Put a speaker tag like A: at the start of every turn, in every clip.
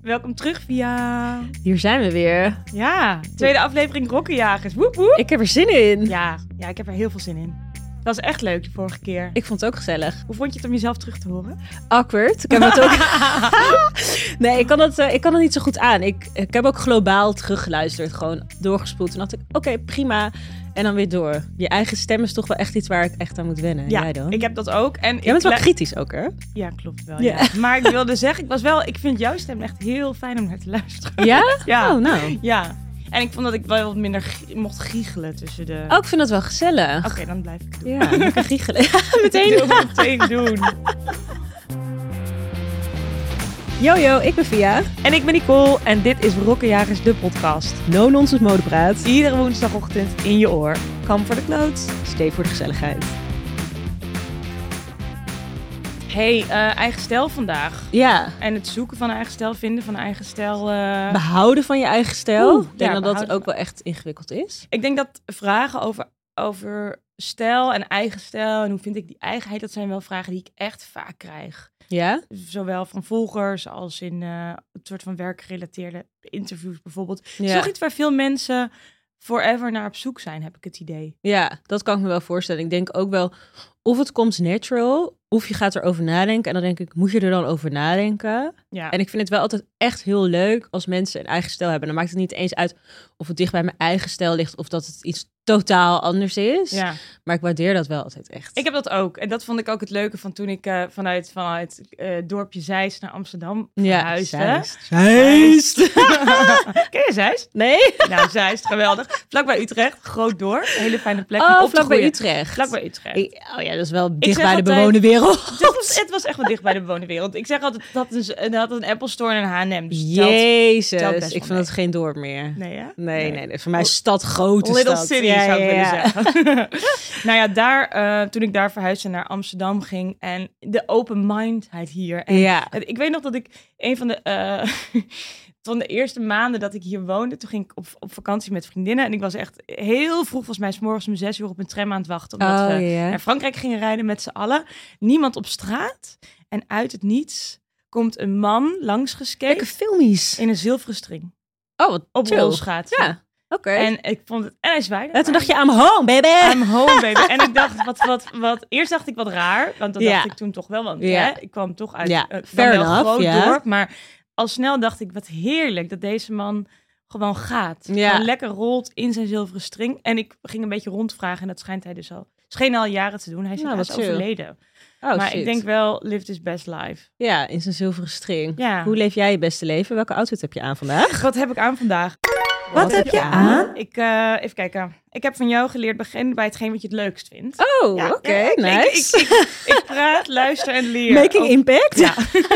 A: Welkom terug via...
B: Hier zijn we weer.
A: Ja, tweede aflevering Rokkenjagers. Woep woep.
B: Ik heb er zin in.
A: Ja, ja, ik heb er heel veel zin in. Dat was echt leuk de vorige keer.
B: Ik vond het ook gezellig.
A: Hoe vond je het om jezelf terug te horen?
B: Awkward. Ik heb het ook... nee, ik kan, dat, eh, ik kan dat niet zo goed aan. Ik, ik heb ook globaal teruggeluisterd. Gewoon doorgespoeld. En dacht ik, oké, prima. En dan weer door. Je eigen stem is toch wel echt iets waar ik echt aan moet wennen. En jij dan?
A: ik heb dat ook. En
B: Jij
A: ik
B: bent wel
A: le-
B: kritisch ook, hè?
A: Ja, klopt wel. Ja. Maar ik wilde zeggen, ik was wel... Ik vind jouw stem echt heel fijn om naar te luisteren.
B: Ja?
A: Ja,
B: Oh, nou.
A: ja. En ik vond dat ik wel wat minder gie- mocht giechelen tussen de...
B: Oh, ik vind dat wel gezellig.
A: Oké, dan blijf ik het doen.
B: Ja, lekker giechelen. Ja,
A: Ik
B: meteen.
A: wil het meteen doen.
B: Yo, yo, ik ben Via.
A: En ik ben Nicole en dit is Rokkenjagers, de podcast.
B: No Nonsense Modepraat.
A: Iedere woensdagochtend in je oor. Kam voor de kloot.
B: Stay voor de gezelligheid.
A: Hey, eh, eigen stijl vandaag.
B: Ja.
A: En het zoeken van een eigen stijl, vinden van een eigen stijl. eh,
B: Behouden van je eigen stijl.
A: Oeh,
B: Ik
A: ja,
B: denk dat dat
A: behouden
B: ook wel echt ingewikkeld is.
A: ik denk dat vragen over, over stijl en eigen stijl en hoe vind ik die eigenheid, dat zijn wel vragen die ik echt vaak krijg.
B: Ja?
A: Zowel van volgers als in eh het soort van werkgerelateerde interviews bijvoorbeeld. Het is
B: Ja.
A: toch iets waar veel mensen forever naar op zoek zijn, heb ik het idee.
B: ja, dat kan ik me wel voorstellen. Ik denk ook wel, of het komt natural, of je gaat erover nadenken. En dan denk ik, moet je er dan over nadenken?
A: Ja,
B: En ik vind het wel altijd echt heel leuk als mensen een eigen stijl hebben. Dan maakt het niet eens uit of het dicht bij mijn eigen stijl ligt, of dat het iets totaal anders is.
A: ja.
B: Maar ik waardeer dat wel altijd echt.
A: Ik heb dat ook. En dat vond ik ook het leuke van toen ik eh, vanuit, vanuit eh, dorpje Zeist naar Amsterdam verhuisde.
B: Zeist.
A: Zeist. Ken je Zeist?
B: Nee?
A: Nou, Zeist, geweldig. Vlakbij Utrecht, groot door. Een hele fijne plek. om op
B: Oh,
A: te
B: vlak bij
A: groeien.
B: Utrecht.
A: Vlakbij Utrecht.
B: Ik- oh ja, dat is wel dicht
A: zeg
B: bij de
A: altijd-
B: bewoonde wereld.
A: Het, was, het was echt wel dicht bij de bewoonde wereld. Ik zeg altijd, dat is, dat had een Apple Store en een H&M. Dus dat-
B: Jezus,
A: telt
B: ik
A: best wel
B: vind
A: mee.
B: dat geen dorp meer.
A: Nee, hè?
B: Nee, nee, nee. Voor mij is stad grote
A: Little
B: stad.
A: City
B: Ja,
A: zou ik
B: ja, ja.
A: willen zeggen. nou ja, daar, eh, toen ik daar verhuisde naar Amsterdam ging en de open-mindedheid hier. En
B: Ja.
A: Het- Ik weet nog dat ik een van de, eh, van de eerste maanden dat ik hier woonde, toen ging ik op, op vakantie met vriendinnen. En ik was echt heel vroeg, volgens mij, 's morgens om zes uur op een tram aan het wachten. Omdat
B: Oh,
A: we
B: ja.
A: naar Frankrijk gingen rijden met z'n allen. Niemand op straat. En uit het niets komt een man
B: Lekker
A: langsgeskeken
B: filmies.
A: in een zilveren string.
B: Oh, wat
A: Op
B: chill.
A: rolschaat.
B: Ja, oké.
A: En Ah, ik vond het. En hij zwaaide.
B: En toen dacht je, I'm home, baby.
A: I'm home, baby. En ik dacht, wat, wat, wat. Eerst dacht ik wat raar, want dat
B: Ja.
A: dacht ik toen toch wel. Want
B: Ja.
A: hè, ik kwam toch uit
B: Ja,
A: eh, dan
B: fair
A: wel
B: enough,
A: groot
B: ja.
A: dorp. Maar al snel dacht ik, wat heerlijk dat deze man gewoon gaat.
B: Ja.
A: Gewoon lekker rolt in zijn zilveren string. En ik ging een beetje rondvragen en dat schijnt hij dus al. Scheen al jaren te doen. Hij is
B: Nou,
A: helaas
B: wat chill.
A: overleden.
B: Oh,
A: maar ik
B: shit.
A: denk wel, lived his best life.
B: Ja, in zijn zilveren string.
A: Ja.
B: Hoe leef jij je beste leven? Welke outfit heb je aan vandaag?
A: Wat heb ik aan vandaag?
B: Wat heb je aan?
A: Ik, eh, even kijken. Ik heb van jou geleerd, begin bij hetgeen wat je het leukst vindt.
B: Oh,
A: Ja,
B: oké,
A: ja, ik-
B: nice.
A: Ik, ik, ik praat, luister en leer.
B: Making
A: Op-
B: impact?
A: Ja.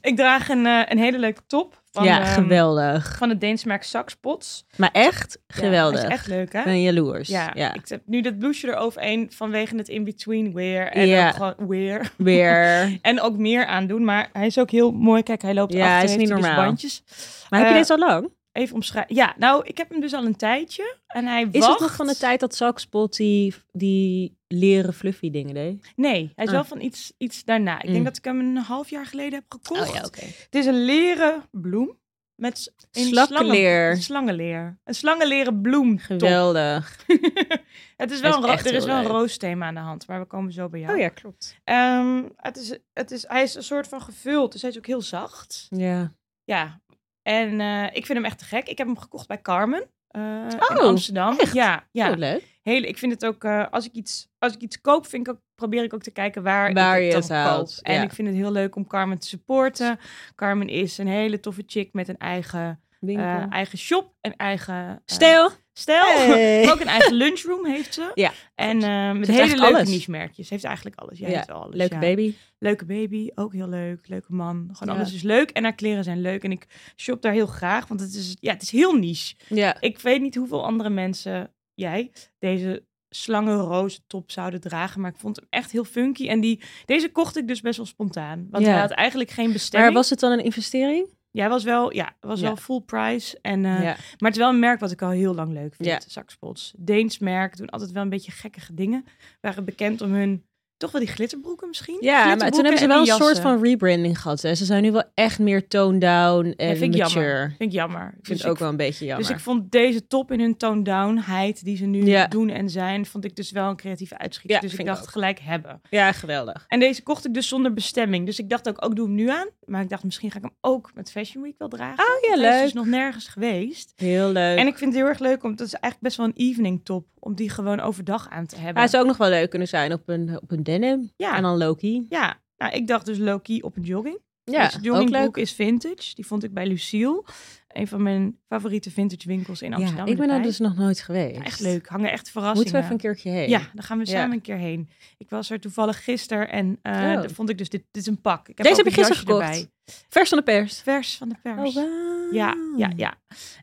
A: ik draag een, eh, een hele leuke top van,
B: Ja,
A: ehm,
B: geweldig.
A: van het Deens merk Saxpots.
B: Maar echt
A: Ja,
B: geweldig.
A: hij is echt leuk, hè?
B: Ik ben jaloers.
A: Ja,
B: Ja,
A: ik heb nu dat blouseje eroverheen vanwege het in-between wear. En
B: Ja.
A: ook gewoon wear.
B: weer.
A: En ook meer aandoen, maar hij is ook heel mooi. Kijk, hij loopt
B: Ja,
A: achter,
B: hij is
A: heeft
B: niet
A: hij dus
B: normaal.
A: bandjes.
B: Maar heb je
A: Eh,
B: deze al lang?
A: Even omschrijven. Ja, nou, ik heb hem dus al een tijdje. En hij
B: Is
A: wacht.
B: het nog van de tijd dat Zakspot die, die leren fluffy dingen deed?
A: Nee, hij is
B: Ah.
A: wel van iets, iets daarna. Ik denk
B: Mm. Oh,
A: dat ik hem een half jaar geleden heb gekocht.
B: oké.
A: Het is een leren bloem met s- in
B: Slakkenleer.
A: slangen- slangenleer. Een slangenleren bloem.
B: Geweldig.
A: het is wel
B: is
A: een, ro-
B: echt
A: er is
B: heel
A: wel een
B: leuk. Oh,
A: roosthema aan de hand, maar we komen zo bij jou.
B: ja, klopt.
A: Ehm, het is, het is, hij is een soort van gevuld, dus hij is ook heel zacht.
B: Ja.
A: Ja. En eh, ik vind hem echt te gek. Ik heb hem gekocht bij Carmen. eh, in
B: Oh,
A: Amsterdam.
B: echt?
A: Ja, ja.
B: Oh, leuk.
A: Heel, ik vind het ook, eh, als, ik iets, als ik iets koop, vind ik ook, probeer ik ook te kijken waar,
B: Waar
A: ik
B: je
A: dan
B: het haalt,
A: koop. En
B: ja.
A: ik vind het heel leuk om Carmen te supporten. Carmen is een hele toffe chick met een eigen, eh, eigen shop, een eigen eh,
B: Stel.
A: stijl.
B: Hey.
A: Maar ook een eigen lunchroom heeft ze.
B: Ja.
A: En eh, met
B: Ze heeft
A: hele
B: echt
A: leuke
B: alles.
A: niche-merkjes. Ze heeft eigenlijk alles. Ja,
B: Ja,
A: heeft wel alles,
B: Leuke
A: ja.
B: baby.
A: Leuke baby, ook heel leuk. Leuke man. Gewoon
B: Ja.
A: alles is leuk. En haar kleren zijn leuk. En ik shop daar heel graag, want het is, ja, het is heel niche.
B: Ja.
A: Ik weet niet hoeveel andere mensen, jij, deze slangenroze top zouden dragen. Maar ik vond hem echt heel funky. En die, deze kocht ik dus best wel spontaan. Want
B: Ja.
A: hij had eigenlijk geen bestemming.
B: Maar was het dan een investering?
A: Jij was wel, ja, was
B: Ja.
A: wel full price. En, eh,
B: ja.
A: Maar het is wel een merk wat ik al heel lang leuk vind.
B: Ja.
A: Saxpots. Deens merk. Doen altijd wel een beetje gekkige dingen. Waren bekend om hun toch wel die glitterbroeken misschien?
B: Ja, maar toen
A: Glitterbroeken
B: hebben ze
A: en
B: wel een
A: die
B: soort
A: jassen.
B: van rebranding gehad. hè. Ze zijn nu wel echt meer toned down en
A: vind ik jammer.
B: mature.
A: Vind ik jammer.
B: Ik vind het ook wel een beetje jammer.
A: Dus ik vond deze top in hun tone-downheid die ze nu
B: Ja.
A: doen en zijn, vond ik dus wel een creatieve uitschieter.
B: Ja,
A: dus ik
B: vind ik
A: dacht
B: ook.
A: gelijk hebben.
B: Ja, geweldig.
A: En deze kocht ik dus zonder bestemming. Dus ik dacht ook, ook doe hem nu aan. Maar ik dacht, misschien ga ik hem ook met Fashion Week wel dragen.
B: Oh ja,
A: Hij is dus
B: leuk.
A: nog nergens geweest.
B: Heel leuk.
A: En ik vind het heel erg leuk, om dat is eigenlijk best wel een evening top. Om die gewoon overdag aan te hebben.
B: Hij zou ook nog wel leuk kunnen zijn op een, op een denim.
A: Ja.
B: Ah, En dan Loki.
A: Ja, nou, ik dacht dus low-key op een jogging.
B: Ja,
A: dus
B: ook
A: joggingbroek
B: leuk.
A: is vintage. Die vond ik bij Lucille. Een van mijn favoriete vintage winkels in
B: Ja,
A: Amsterdam.
B: ik ben
A: erbij.
B: daar dus nog nooit geweest.
A: Echt leuk, hangen echt verrassingen.
B: Moeten we even een keertje heen?
A: Ja, dan gaan we
B: eh, Ja.
A: samen een keer heen. Ik was er toevallig gisteren en eh
B: Oh.
A: daar vond ik dus dit, dit is een pak. Ik
B: Deze
A: ook
B: heb je
A: een
B: gisteren
A: jasje
B: gekocht? Oh, Vers van de pers.
A: Vers van de pers.
B: wow.
A: Ja, ja, ja.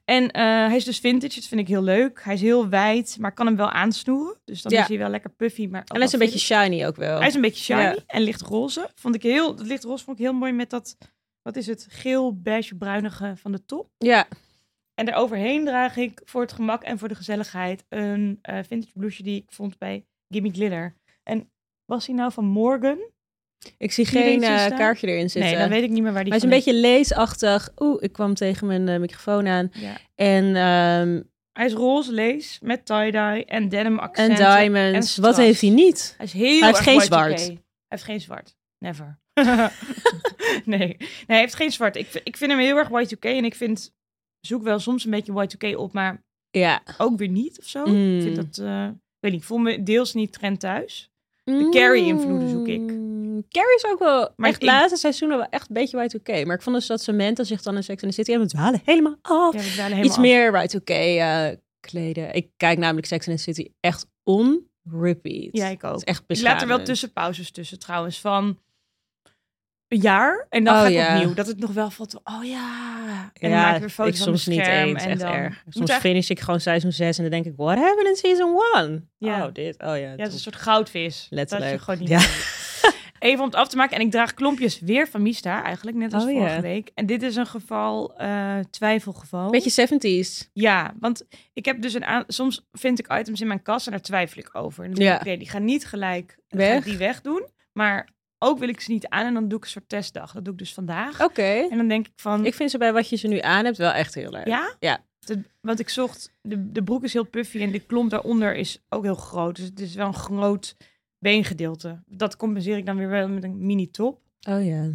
A: En eh, hij is dus vintage, dat vind ik heel leuk. Hij is heel wijd, maar ik kan hem wel aansnoeren. Dus dan
B: Ja.
A: is hij wel lekker puffy. Maar ook
B: En hij is een
A: wel
B: beetje shiny ook wel.
A: hij is een beetje shiny
B: Ja.
A: en lichtroze. Vond ik heel, dat lichtroze vond ik heel mooi met dat, wat is het, geel, beige, bruinige van de top.
B: Ja,
A: En daaroverheen draag ik voor het gemak en voor de gezelligheid een eh, vintage blouseje die ik vond bij Gimme Glitter. En was hij nou van Morgan?
B: ik zie
A: Zie je
B: geen
A: er iets in
B: eh,
A: staan?
B: kaartje erin zitten.
A: Nee, dan weet ik niet meer waar die
B: hij is een
A: van
B: beetje leesachtig. Oeh, ik kwam tegen mijn eh, microfoon aan.
A: Ja.
B: En, ehm,
A: Hij is roze lees met tie-dye en denim
B: en
A: accenten.
B: diamonds.
A: en
B: Wat
A: strass.
B: heeft hij niet?
A: Hij is heel
B: Hij heeft
A: erg
B: geen
A: white
B: zwart.
A: YK. Hij heeft geen zwart. Never. nee. nee, hij heeft geen zwart. Ik, ik vind hem heel erg Y2K en ik vind zoek wel soms een beetje Y2K op, maar
B: Ja.
A: ook weer niet of zo.
B: Mm.
A: Ik vind dat, eh, ik weet niet, ik voel me deels niet trend thuis. De Carrie-invloeden zoek ik.
B: Mm, Carrie is ook wel,
A: Maar
B: echt
A: ik-
B: laatste seizoenen wel echt een beetje right oké. Maar ik vond dus dat Samantha zich dan in Sex and the City en we dwalen helemaal af.
A: Ja, we dwalen helemaal
B: Oh, Iets
A: af.
B: meer right oké kleden. Ik kijk namelijk Sex and the City echt on repeat.
A: Ja, ik ook.
B: Het is echt
A: Ik laat
B: beschamend.
A: er wel tussenpauzes tussen trouwens van een jaar en dan
B: Oh,
A: ga ik
B: ja.
A: opnieuw. Dat het nog wel valt. Oh ja. En dan
B: ja,
A: maak ik weer foto's
B: ik
A: van mijn
B: soms niet
A: scherm
B: eens.
A: en
B: echt
A: dan
B: erg.
A: Moet
B: Soms
A: eigenlijk-
B: finish ik gewoon seizoen 6 en dan denk ik, what happened in season 1?
A: Ja.
B: Oh, dit. Oh ja.
A: Ja, het is
B: top.
A: een soort goudvis.
B: Letterlijk.
A: Dat je gewoon niet
B: Ja.
A: Even om het af te maken. En ik draag klompjes weer van Mista, eigenlijk net als
B: Oh, ja.
A: vorige week. En dit is een geval, eh, twijfelgeval.
B: Beetje 70s.
A: Ja, want ik heb dus een aan... Soms vind ik items in mijn kast en daar twijfel ik over. En dan denk
B: Ja.
A: ik, oké, die gaan niet gelijk ga
B: Weg.
A: ik die wegdoen. Maar ook wil ik ze niet aan en dan doe ik een soort testdag. Dat doe ik dus vandaag.
B: Oké.
A: En dan denk ik van,
B: Ik vind ze bij wat je ze nu aan hebt wel echt heel leuk.
A: ja?
B: Ja.
A: De- want ik zocht, de, de broek is heel puffy en de klomp daaronder is ook heel groot. Dus het is wel een groot beengedeelte. Dat compenseer ik dan weer wel met een mini top.
B: Oh ja.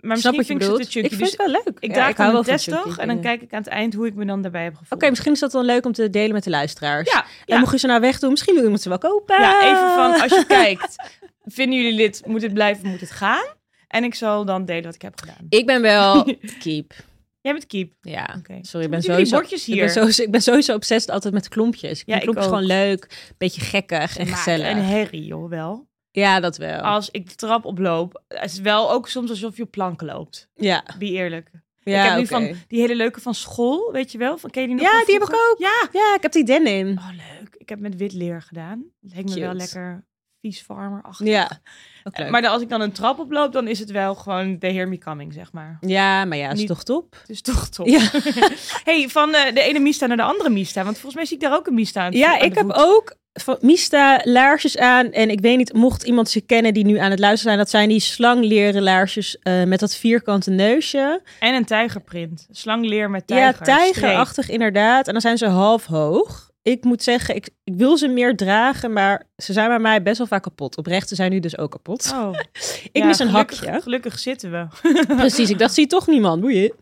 A: Maar misschien
B: Snap wat je
A: vind ik ze
B: bedoelt.
A: te chunky.
B: Ik vind
A: dus
B: het wel leuk.
A: ik
B: Ja,
A: draag
B: hou
A: dan
B: wel
A: een
B: van
A: testdag
B: chunky
A: en dan
B: dingen.
A: kijk ik aan het eind hoe ik me dan daarbij heb gevoeld.
B: Oké, misschien is dat dan leuk om te delen met de luisteraars.
A: Ja,
B: En
A: ja,
B: mocht je ze nou wegdoen, misschien wil iemand ze wel kopen.
A: ja, even van als je kijkt. Vinden jullie dit? Moet het blijven? Moet het gaan? En ik zal dan delen wat ik heb gedaan.
B: Ik ben wel keep.
A: Jij bent keep.
B: Ja.
A: Oké.
B: Sorry, ik ben
A: Met jullie
B: sowieso...
A: bordjes
B: Ik ben,
A: hier.
B: sowieso, ik ben sowieso obsessed altijd met klompjes. Ik
A: Ja,
B: vind
A: ik
B: klompjes
A: ook.
B: gewoon leuk, beetje gekkig en
A: Maar
B: gezellig.
A: Een herrie, joh, wel.
B: Ja, dat wel.
A: Als ik de trap oploop, is het wel ook soms alsof je op planken loopt.
B: Ja,
A: Be eerlijk.
B: ja
A: ik heb nu
B: oké.
A: van die hele leuke van school, weet je wel? Van, ken je die nog
B: Ja,
A: van
B: die heb ik
A: vroeger?
B: ook.
A: Ja.
B: Ja, ik heb die denim.
A: Oh, leuk. Ik heb met wit leer gedaan. Leek me wel
B: Cute.
A: lekker vies farmer achter.
B: Ja. Ook leuk.
A: Eh, Maar dan- als ik dan een trap oploop, dan is het wel gewoon de hear me coming, zeg maar.
B: Ja, maar ja, is
A: Niet-
B: toch top?
A: Het is toch top.
B: Ja,
A: hey, van eh, de ene mista naar de andere mista. Want volgens mij zie ik daar ook een mista aan. het-
B: ja
A: aan de
B: ik heb
A: voet.
B: ook van Mista laarsjes aan. En ik weet niet, mocht iemand ze kennen die nu aan het luisteren zijn, dat zijn die slangleren laarsjes eh, met dat vierkante neusje.
A: En een tijgerprint. Slangleer met tijger.
B: Ja, tijgerachtig inderdaad. En dan zijn ze half hoog. Ik moet zeggen, ik, ik wil ze meer dragen, maar ze zijn bij mij best wel vaak kapot. Oprecht, ze zijn nu dus ook kapot.
A: streep. Oh,
B: ik
A: ja,
B: mis een
A: gelukkig-
B: hakje.
A: Gelukkig zitten we.
B: Precies, ik dacht, zie toch niemand. Boeien.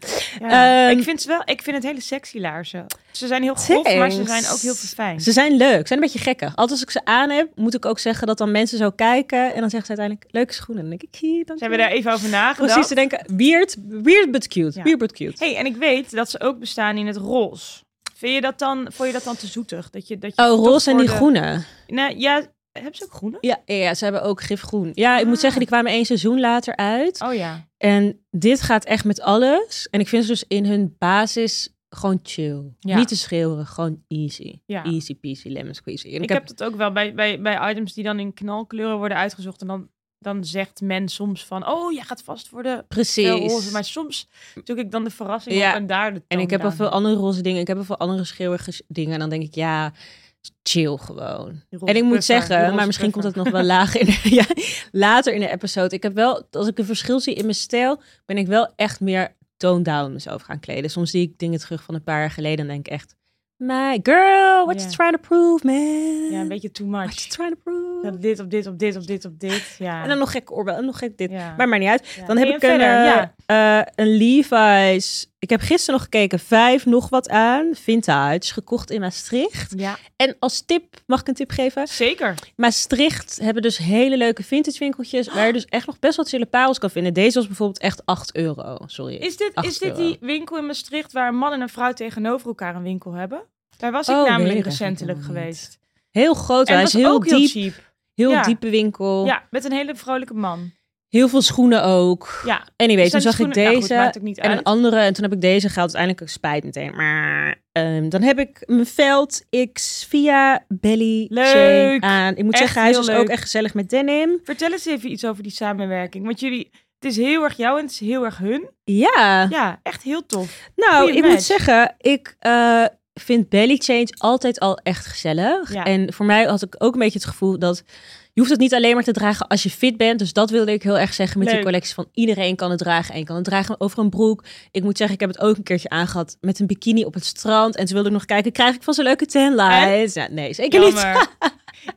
A: Ja.
B: Ehm,
A: ik vind ze wel. Ik vind het hele sexy laarzen. Ze zijn heel grof, maar ze
B: Thanks.
A: zijn ook heel verfijnd.
B: Ze zijn leuk, ze zijn een beetje gekkig. Altijd als ik ze aan heb, moet ik ook zeggen dat dan mensen zo kijken. En dan zeggen ze uiteindelijk, leuke schoenen. En dan denk ik, hier, dank
A: Zijn
B: je
A: we
B: wel."
A: daar even over nagedacht?
B: Precies, ze denken, weird, weird but cute.
A: Ja.
B: Weird but cute.
A: hey, en ik weet dat ze ook bestaan in het roze. Vind je dat dan, vond je dat dan te zoetig? Dat je, dat je
B: Oh,
A: toch
B: roze en
A: voor
B: die
A: de-
B: groene.
A: Nou, ja, hebben ze ook groene?
B: Ja, ja, ja, ze hebben ook gifgroen. Ja, ik moet
A: Ah.
B: zeggen, die kwamen één seizoen later uit.
A: Oh ja.
B: En dit gaat echt met alles. En ik vind ze dus in hun basis gewoon chill.
A: Ja.
B: Niet te schreeuwerig, gewoon easy.
A: ja.
B: Easy peasy, lemon squeezy. En
A: Ik, heb dat ook wel bij, bij, bij items die dan in knalkleuren worden uitgezocht. En dan, dan zegt men soms van, oh, jij gaat vast voor de wel
B: precies.
A: roze. Maar soms zoek ik dan de verrassing
B: Ja.
A: op en daar de
B: En ik heb
A: al
B: wel veel andere roze dingen. Ik heb wel veel andere schreeuwige s- dingen. En dan denk ik, ja, Chill gewoon.
A: Die
B: En
A: roze
B: ik
A: puffer,
B: moet
A: die
B: zeggen,
A: roze
B: maar misschien komt
A: puffer.
B: dat nog wel lager in de- ja, later in de episode. Ik heb wel, als ik een verschil zie in mijn stijl, ben ik wel echt meer toned down mezelf gaan kleden. Soms zie ik dingen terug van een paar jaar geleden en denk ik echt, my girl, what
A: Ja.
B: you trying to prove, man?
A: Ja, een beetje too
B: What you
A: much.
B: trying to prove?
A: Dat dit op dit op dit op dit op dit. Ja.
B: En dan nog gek oorbel en nog gek dit.
A: Ja.
B: Maar maakt niet uit.
A: Ja.
B: Dan heb
A: Ga
B: ik
A: je
B: een,
A: verder?
B: eh,
A: ja.
B: eh, een Levi's. Ik heb gisteren nog gekeken. Vijf nog wat aan. Vintage. Gekocht in Maastricht.
A: ja,
B: En als tip, mag ik een tip geven?
A: zeker.
B: Maastricht hebben dus hele leuke vintage winkeltjes. Waar je dus echt nog best wat chille parels kan vinden. Deze was bijvoorbeeld echt 8 euro. Sorry.
A: Is dit, is
B: Acht
A: dit
B: euro.
A: die winkel in Maastricht waar een man en een vrouw tegenover elkaar een winkel hebben? Daar was ik
B: Oh, weet
A: namelijk
B: ik eigenlijk
A: recentelijk
B: helemaal niet.
A: geweest.
B: Heel groot.
A: En
B: Hij
A: was
B: is heel
A: ook
B: diep. Oh.
A: heel
B: Heel,
A: cheap. Ja.
B: diepe winkel.
A: Ja, met een hele vrolijke man.
B: Heel veel schoenen ook.
A: Ja.
B: Anyway,
A: Dus
B: toen
A: zijn
B: zag ik
A: schoenen- nou goed,
B: deze.
A: maakt ook niet
B: En
A: uit.
B: een andere, en toen heb ik deze gehaald. Uiteindelijk ook spijt meteen. Maar ehm, dan heb ik mijn Veld X via Belly
A: Leuk.
B: Chain aan. Ik moet
A: Echt
B: zeggen, hij is
A: heel
B: dus
A: leuk.
B: ook echt gezellig met denim.
A: Vertel eens even iets over die samenwerking. Want jullie, het is heel erg jou en het is heel erg hun.
B: Ja,
A: Ja, echt heel tof.
B: nou,
A: goeie
B: ik
A: match.
B: moet zeggen, ik eh, vind Belly Change altijd al echt gezellig.
A: Ja.
B: En voor mij had ik ook een beetje het gevoel dat... Je hoeft het niet alleen maar te dragen als je fit bent. Dus dat wilde ik heel erg zeggen met
A: Leuk.
B: die collectie van iedereen kan het dragen. En je kan het dragen over een broek. Ik moet zeggen, ik heb het ook een keertje aangehad met een bikini op het strand. En toen wilde ik nog kijken, krijg ik van zo'n leuke tanlight? Ja, nee, zeker niet.
A: Jammer.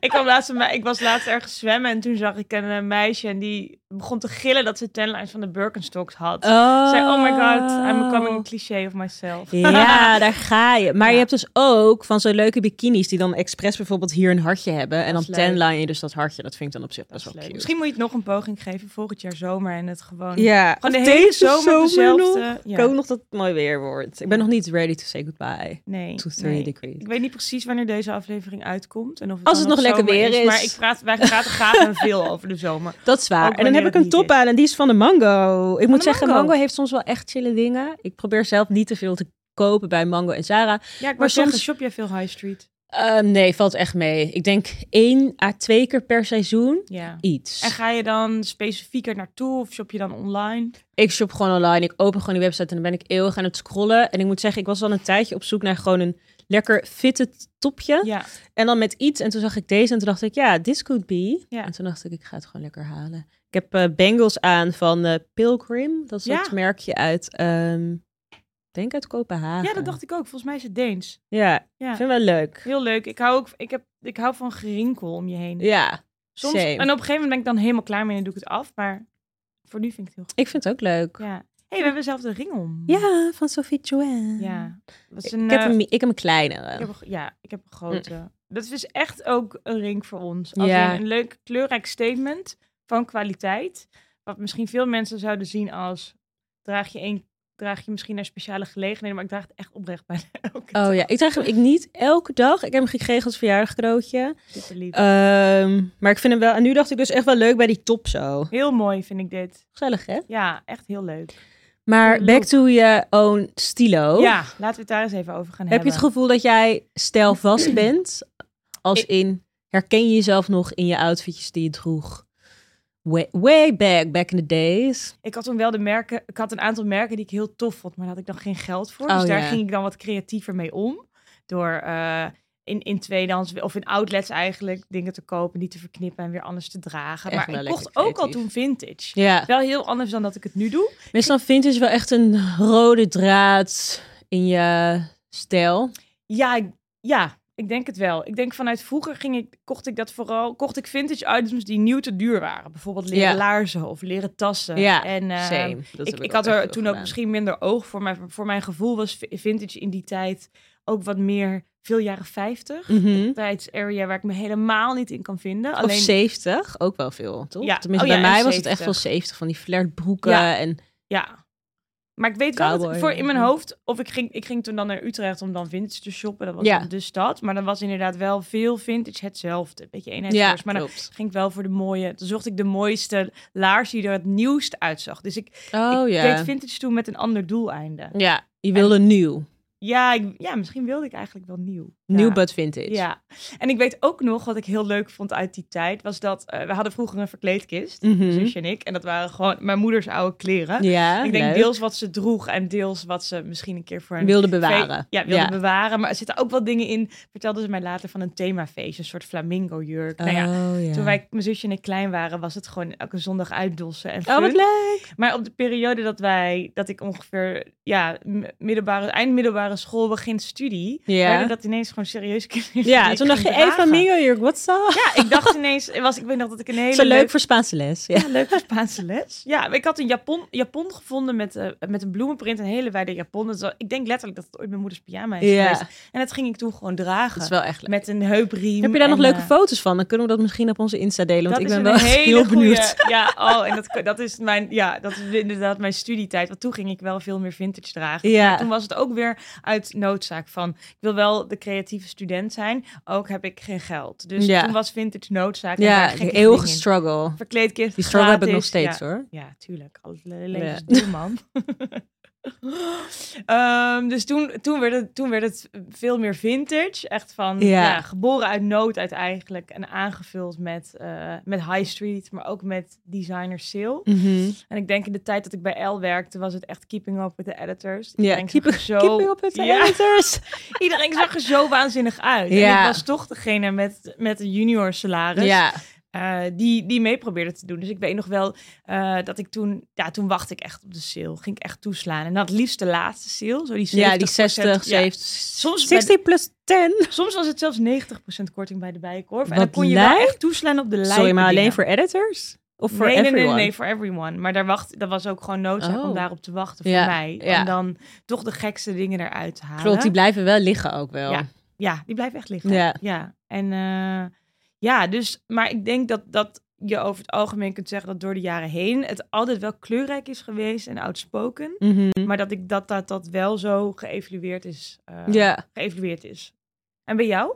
A: ik, kwam laatst, een me- ik was laatst ergens zwemmen en toen zag ik een eh, meisje en die begon te gillen dat ze tenlines van de Birkenstocks had.
B: Oh.
A: Zei, oh my god, I'm becoming a cliché of myself.
B: Ja, daar ga je. Maar
A: Ja.
B: je hebt dus ook van zo'n leuke bikinis die dan expres bijvoorbeeld hier een hartje hebben. En
A: Dat
B: dan
A: is leuk.
B: tanline je dus dat hartje. Dat vind ik dan op zich
A: Dat is
B: best wel
A: leuk.
B: cute.
A: Misschien moet je het nog een poging geven volgend jaar zomer en het gewoon...
B: ja,
A: Gewoon
B: Of
A: de hele
B: deze
A: zomer, dezelfde...
B: nog.
A: ja.
B: Ik hoop nog dat het mooi weer wordt. Ik ben nog niet ready to say goodbye
A: Nee,
B: to 3
A: nee.
B: degrees.
A: Ik weet niet precies wanneer deze aflevering uitkomt. En of het
B: Als
A: dan
B: het nog lekker
A: zomer
B: weer is.
A: Maar ik praat, wij praten graag en veel over de zomer.
B: Dat is
A: Ook
B: waar. En dan
A: wanneer
B: heb
A: het
B: ik een
A: niet
B: top
A: is.
B: aan en die is van de Mango. Ik moet
A: de
B: zeggen,
A: Mango.
B: mango. heeft soms wel echt chille dingen. Ik probeer zelf niet te veel te kopen bij Mango en Zara.
A: Ja, ik
B: Maar
A: maar
B: soms-
A: soms shop jij veel high street.
B: Ehm, nee, valt echt mee. Ik denk één à twee keer per seizoen
A: Ja.
B: iets.
A: En ga je dan specifieker naartoe of shop je dan online?
B: ik shop gewoon online. Ik open gewoon die website en dan ben ik eeuwig aan het scrollen. En ik moet zeggen, ik was al een tijdje op zoek naar gewoon een lekker fitte topje.
A: Ja.
B: En dan met iets. En toen zag ik deze en toen dacht ik, ja, this could be.
A: Ja.
B: En toen dacht ik, ik ga het gewoon lekker halen. Ik heb eh, bangles aan van eh, Pilgrim. Dat is
A: Ja.
B: dat merkje uit, ehm, ik denk uit Kopenhagen.
A: ja, dat dacht ik ook. Volgens mij is het Deens.
B: Ja,
A: Ja.
B: ik vind het wel leuk.
A: Heel leuk. Ik hou, ook, ik, heb, ik hou van gerinkel om je heen.
B: Ja,
A: Soms,
B: same.
A: en op een gegeven moment ben ik dan helemaal klaar mee en doe ik het af. Maar voor nu vind ik het heel goed.
B: ik vind het ook leuk. Ja,
A: Ja. hey, we hebben zelf de ring om.
B: van Sophie Joanne.
A: Ja. Dat is
B: Ik,
A: een,
B: heb
A: eh,
B: een, mi- ik heb een kleinere.
A: ik heb een, ja, ik heb
B: Mm.
A: een grote. Dat is dus echt ook een ring voor ons. Als
B: Ja.
A: in een leuk kleurrijk statement van kwaliteit. Wat misschien veel mensen zouden zien als... Draag je, één, draag je misschien naar speciale gelegenheden, maar ik draag het echt oprecht bij elke dag.
B: Oh ja, ik draag hem ik niet elke dag. Ik heb hem gekregen als verjaardagcadeautje.
A: Super lief.
B: Ehm, maar ik vind hem wel. En nu dacht ik dus echt wel leuk bij die top zo.
A: Heel mooi vind ik dit.
B: Gezellig, hè?
A: Ja, echt heel leuk.
B: Maar
A: Leuk.
B: back to je own stilo.
A: Ja, laten we het daar eens even over gaan
B: Oh. Heb je
A: hebben.
B: het gevoel dat jij stijlvast bent? Als
A: Ik-
B: in herken je jezelf nog in je outfitjes die je droeg? Way, way back, back in the days.
A: Ik had toen wel de merken, ik had een aantal merken die ik heel tof vond, maar daar had ik dan geen geld voor.
B: Oh,
A: dus daar
B: ja.
A: ging ik dan wat creatiever mee om. Door eh, in, in tweedehands of in outlets eigenlijk dingen te kopen, die te verknippen en weer anders te dragen.
B: Echt wel
A: maar ik
B: lekker
A: kocht ook al
B: creatief.
A: toen vintage.
B: Ja.
A: Wel heel anders dan dat ik het nu doe.
B: Meestal vindt is wel echt een rode draad in je stijl.
A: Ja, ik- ja, ik denk het wel. Ik denk vanuit vroeger ging ik, kocht ik dat vooral, kocht ik vintage items die nieuw te duur waren. Bijvoorbeeld leren
B: Ja.
A: laarzen of leren tassen.
B: Ja,
A: en, eh,
B: Same. Dat
A: ik,
B: heb
A: ik
B: ook
A: had
B: echt
A: er
B: veel
A: toen ook
B: gedaan.
A: misschien minder oog voor. Maar voor mijn gevoel was vi- vintage in die tijd ook wat meer veel jaren 50.
B: Mhm.
A: Tijdsarea waar ik me helemaal niet in kan vinden.
B: Of 70, ook wel veel, toch?
A: Ja.
B: Tenminste,
A: Oh ja,
B: bij mij
A: en
B: was het echt
A: 70.
B: wel 70 van die flertbroeken
A: Ja.
B: en
A: ja. Maar ik weet wel dat
B: Cowboy.
A: voor in mijn hoofd, of ik ging, ik ging toen dan naar Utrecht om dan vintage te shoppen. Dat was
B: Ja.
A: dan de stad. Maar dan was inderdaad wel veel vintage hetzelfde. Een beetje eenheidsworst. maar dan
B: klopt.
A: ging ik wel voor de mooie. Dan zocht ik de mooiste laars die er het nieuwst uitzag. Dus ik,
B: Oh
A: ik
B: ja. Mm.
A: deed vintage toen met een ander doeleinde.
B: ja, je wilde nieuw.
A: Ja, ik, ja, misschien wilde ik eigenlijk wel nieuw.
B: Nieuw
A: Ja.
B: but vintage.
A: Ja, en ik weet ook nog wat ik heel leuk vond uit die tijd, was dat eh, we hadden vroeger een verkleedkist,
B: Mhm.
A: mijn zusje en ik, en dat waren gewoon mijn moeders oude kleren.
B: Ja,
A: ik denk
B: leuk.
A: deels wat ze droeg en deels wat ze misschien een keer voor een
B: wilde
A: fe-
B: bewaren.
A: Ja, wilde bewaren, maar er zitten ook wel dingen in, vertelden ze mij later van een themafeest, een soort flamingo jurk. Nou ja,
B: Oh, ja.
A: toen wij, mijn zusje en ik klein waren, was het gewoon elke zondag uitdossen en
B: Oh,
A: fun.
B: wat leuk.
A: Maar op de periode dat wij, dat ik ongeveer, ja, m- middelbare, eind middelbare school, begin studie,
B: Ja.
A: werden dat ineens gewoon serieus kinderen.
B: Ja,
A: die
B: toen
A: ik
B: dacht je,
A: ging
B: even
A: dragen.
B: amigo jurk, what's up?
A: Ja, ik dacht ineens, was, ik weet nog dat ik een hele
B: Zo leuk,
A: leuke-
B: voor Spaanse les. Ja.
A: ja, leuke Spaanse les. Ja, maar ik had een Japon, Japon gevonden met, eh, met een bloemenprint, een hele wijde Japon. Dat was- ik denk letterlijk dat het ooit mijn moeders pyjama is
B: Ja.
A: geweest. En dat ging ik toen gewoon dragen.
B: Dat is wel echt leuk.
A: Met een heupriem.
B: Heb je daar nog
A: en,
B: leuke
A: eh,
B: foto's van? Dan kunnen we dat misschien op onze Insta delen, want ik
A: is
B: ben
A: een
B: wel echt
A: hele
B: heel
A: goeie-
B: benieuwd.
A: Ja, oh, en dat, dat is mijn, ja, dat is inderdaad mijn studietijd. Want toen ging ik wel veel meer vintage dragen.
B: Ja.
A: Maar toen was het ook weer uit noodzaak van, ik wil wel de creatieve student zijn, ook heb ik geen geld. Dus
B: Ja.
A: toen was vintage noodzaak. en daar
B: Ja,
A: gekke
B: eeuwige
A: dingen in.
B: struggle.
A: Verkleedkist,
B: Die struggle heb ik nog
A: gratis,
B: steeds
A: ja.
B: hoor.
A: Ja, tuurlijk. Alles le- leven is duur, man. Ehm, dus toen, toen, werd het, toen werd het veel meer vintage. Echt van
B: Ja.
A: ja. geboren uit nood uit eigenlijk. En aangevuld met, eh, met high street, maar ook met designer sale.
B: Mhm.
A: En ik denk in de tijd dat ik bij L werkte, was het echt keeping up with the editors.
B: Ja,
A: Iedereen
B: keep,
A: zag er zo,
B: keeping up with the
A: Ja,
B: editors.
A: Iedereen zag er zo waanzinnig uit. En
B: Ja.
A: ik was toch degene met, met een junior salaris
B: Ja,
A: eh, die, die mee probeerde te doen. Dus ik weet nog wel eh, dat ik toen, ja, toen wachtte ik echt op de sale. Ging ik echt toeslaan. En dat liefst de laatste sale, zo die 70%.
B: ja, die 60,
A: ja.
B: 70,
A: Soms, bij-
B: 60 plus 10.
A: soms was het zelfs 90% korting bij de Bijenkorf. en
B: Wat
A: dan kon je wel
B: lijp.
A: echt toeslaan op de lijn.
B: Sorry, maar alleen voor editors? Of voor
A: nee, nee,
B: everyone?
A: nee, nee, voor everyone. Maar daar wacht, dat was ook gewoon noodzaak
B: Oh.
A: om daarop te wachten voor
B: Ja,
A: mij.
B: ja.
A: En dan toch de gekste dingen eruit te halen.
B: Klopt, die blijven wel liggen ook wel.
A: Ja. Ja, die blijft echt liggen.
B: Ja.
A: En eh, ja, dus, maar ik denk dat, dat je over het algemeen kunt zeggen dat door de jaren heen het altijd wel kleurrijk is geweest en outspoken.
B: Mhm.
A: Maar dat ik dat, dat, dat wel zo geëvalueerd is, eh,
B: ja.
A: geëvalueerd is. En bij jou?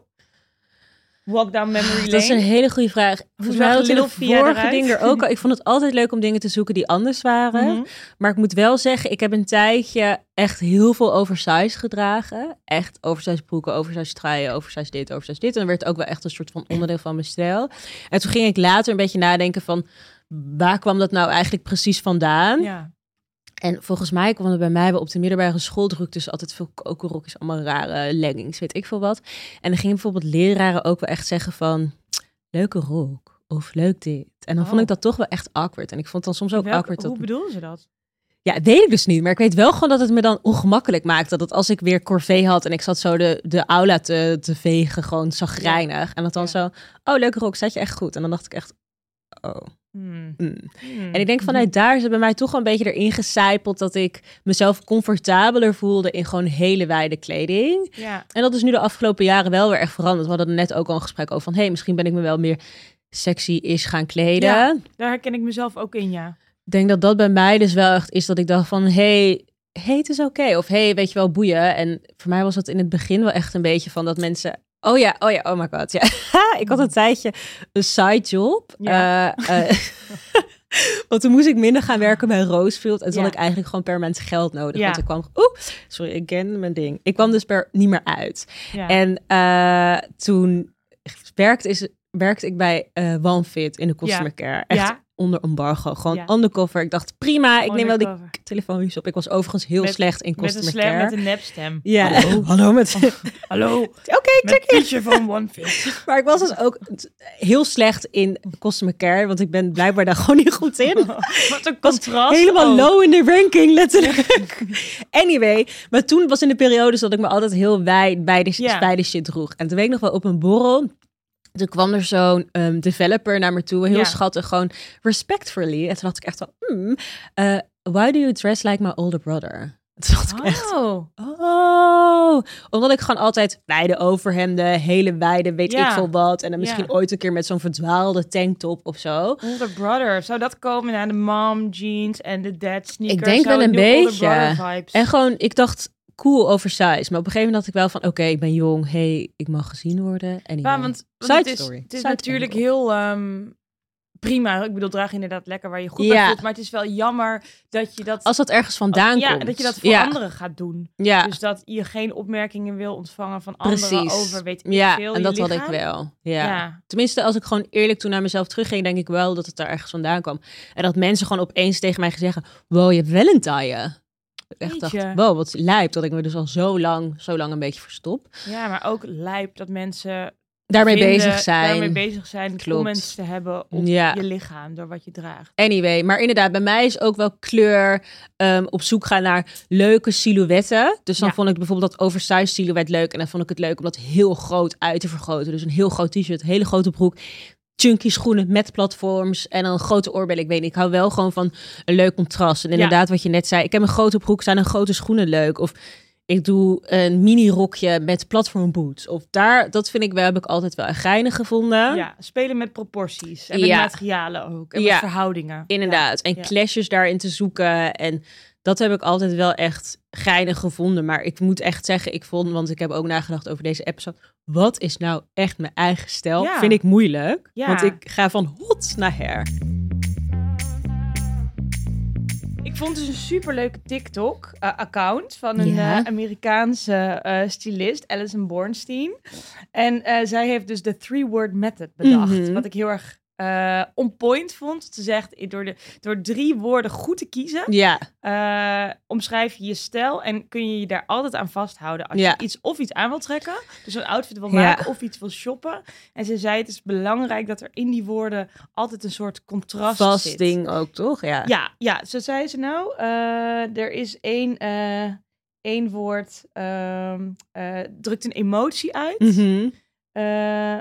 A: Walk down memory lane?
B: Dat is een hele goede vraag. Volgens mij
A: zag
B: had ik
A: Lil
B: het
A: Via
B: vorige
A: eruit?
B: ding er ook al. Ik vond het altijd leuk om dingen te zoeken die anders waren.
A: Mhm.
B: Maar ik moet wel zeggen, ik heb een tijdje echt heel veel oversized gedragen. Echt oversized broeken, oversized truien, oversized dit, oversized dit. En dan werd het ook wel echt een soort van onderdeel van mijn stijl. En toen ging ik later een beetje nadenken van... waar kwam dat nou eigenlijk precies vandaan?
A: Ja.
B: En volgens mij kwam het bij mij wel op de middelbare school druk tussen altijd veel kokerrokjes, allemaal rare leggings, weet ik veel wat. En dan gingen bijvoorbeeld leraren ook wel echt zeggen van, leuke rok of leuk dit. En dan vond
A: Oh.
B: ik dat toch wel echt awkward. En ik vond dan soms ook
A: Welke-
B: awkward dat
A: hoe bedoelden ze dat?
B: ja, dat weet ik dus niet. Maar ik weet wel gewoon dat het me dan ongemakkelijk maakt. Dat het als ik weer corvée had en ik zat zo de, de aula te, te vegen, gewoon zagrijnig. En dat dan
A: Ja.
B: zo, oh leuke rok, staat je echt goed. En dan dacht ik echt, oh.
A: Hmm.
B: mm.
A: Hmm.
B: En ik denk vanuit daar is het bij mij toch wel een beetje erin gecijpeld dat ik mezelf comfortabeler voelde in gewoon hele wijde kleding.
A: Ja.
B: En dat is nu de afgelopen jaren wel weer echt veranderd. We hadden er net ook al een gesprek over van, hé, hey, misschien ben ik me wel meer sexy is gaan kleden.
A: Ja. Daar herken ik mezelf ook in, ja.
B: Ik denk dat dat bij mij dus wel echt is dat ik dacht van... hey, hey, het is oké. Of hey, weet je wel, boeien. En voor mij was dat in het begin wel echt een beetje van dat mensen... Oh ja, oh ja, oh my god. Ja. ik had een tijdje een side job.
A: Ja.
B: Eh, eh, want toen moest ik minder gaan werken bij Rosefield. En toen
A: Ja.
B: had ik eigenlijk gewoon per mens geld nodig.
A: Ja.
B: Want ik kwam... Oeh, sorry, ik ken mijn ding. Ik kwam dus per niet meer uit.
A: ja.
B: En eh, toen werkte, is, werkte ik bij eh OneFit in de customer care. Echt
A: Ja.
B: onder embargo. Gewoon
A: Ja.
B: undercover. Ik dacht, prima, ik neem wel die
A: Undercover.
B: telefoonjes op. Ik was overigens heel
A: Met-
B: slecht in
A: met een,
B: customer
A: slam-
B: care.
A: met een Oh. nepstem.
B: Ja, hallo, met... Oké,
A: Hallo,
B: check
A: met Pietje van One Fit.
B: Maar ik was dus ook t- heel slecht in customer care, want ik ben blijkbaar daar gewoon niet goed in.
A: Wat een contrast.
B: Helemaal
A: ook.
B: low in de ranking, letterlijk. anyway, maar toen was in de periode dat ik me altijd heel wijd bij de,
A: Ja.
B: bij de shit droeg. En toen weet ik nog wel op een borrel. Toen kwam er zo'n ehm, developer naar me toe, heel
A: Ja.
B: schattig, gewoon respectfully. En toen dacht ik echt van, hmm, eh, why do you dress like my older brother? Toen dacht ik echt,
A: Oh,
B: oh. Omdat ik gewoon altijd wijde overhemden, hele wijde, weet
A: Ja.
B: ik veel wat. En dan
A: Ja.
B: misschien ooit een keer met zo'n verdwaalde tanktop of zo.
A: older brother. Zou dat komen naar de mom jeans en de dad sneakers?
B: Ik denk
A: Zou
B: wel
A: het
B: een
A: nieuwe older
B: beetje.
A: brother vibes?
B: En gewoon, ik dacht cool oversized. Maar op een gegeven moment dacht ik wel van, oké, ik ben jong. hey, ik mag gezien worden. En
A: Ja, want, want het
B: Side
A: is,
B: story.
A: het is
B: Side
A: natuurlijk
B: angle.
A: heel ehm, prima. Ik bedoel, draag inderdaad lekker waar je goed
B: Ja.
A: bij voelt. Maar het is wel jammer dat je dat...
B: Als dat ergens vandaan
A: ja,
B: komt.
A: dat je dat voor
B: ja.
A: anderen gaat doen.
B: Ja,
A: Dus dat je geen opmerkingen wil ontvangen van anderen
B: precies.
A: over weet ik
B: ja,
A: veel.
B: en
A: je
B: dat had ik
A: lichaam.
B: wel. Ja.
A: Ja.
B: Tenminste, als ik gewoon eerlijk toen naar mezelf terugging, denk ik wel dat het daar ergens vandaan kwam. En dat mensen gewoon opeens tegen mij zeggen: Wow, je hebt wel een taille. Ik echt dacht,
A: Jeetje.
B: wow, wat lijp dat ik me dus al zo lang, zo lang een beetje verstop.
A: ja, maar ook lijp dat mensen
B: Daarmee
A: vinden-
B: bezig zijn.
A: daarmee bezig zijn
B: Klopt.
A: comments te hebben op
B: Ja.
A: je lichaam door wat je draagt.
B: Anyway, maar inderdaad, bij mij is ook wel kleur ehm, op zoek gaan naar leuke silhouetten. Dus dan
A: Ja.
B: vond ik bijvoorbeeld dat oversized silhouet leuk. En dan vond ik het leuk om dat heel groot uit te vergroten. Dus een heel groot t-shirt, hele grote broek, chunky schoenen met platforms en dan een grote oorbel. Ik weet niet, ik hou wel gewoon van een leuk contrast. En inderdaad, wat je net zei, ik heb een grote broek, staan en grote schoenen leuk. Of ik doe een mini rokje met platform boots. Of daar, dat vind ik wel, heb ik altijd wel geinig gevonden.
A: Ja, spelen met proporties en met
B: Ja.
A: materialen ook en
B: Ja.
A: met verhoudingen.
B: Inderdaad. En
A: ja.
B: clashes daarin te zoeken. En dat heb ik altijd wel echt geinig gevonden. Maar ik moet echt zeggen, ik vond, want ik heb ook nagedacht over deze episode. Wat is nou echt mijn eigen stijl?
A: Ja.
B: Vind ik moeilijk.
A: Ja.
B: Want ik ga van hot naar her.
A: Ik vond dus een superleuke TikTok-account van een
B: Ja.
A: eh, Amerikaanse eh, stylist, Alison Bornstein. En eh, zij heeft dus de three-word method bedacht.
B: Mhm.
A: Wat ik heel erg eh on point vond. Ze zegt, eh, door, de, door drie woorden goed te kiezen,
B: Ja,
A: eh, omschrijf je je stijl en kun je je daar altijd aan vasthouden. Als
B: Ja.
A: je iets of iets aan wil trekken, dus een outfit wil
B: Ja.
A: maken of iets wil shoppen. En ze zei, het is belangrijk dat er in die woorden altijd een soort contrast
B: vast
A: zit.
B: ding ook, toch? Ja.
A: Ja, ja, zo zei ze nou. eh, er is één, eh, één woord, ehm, eh, drukt een emotie uit.
B: Mhm.
A: Eh,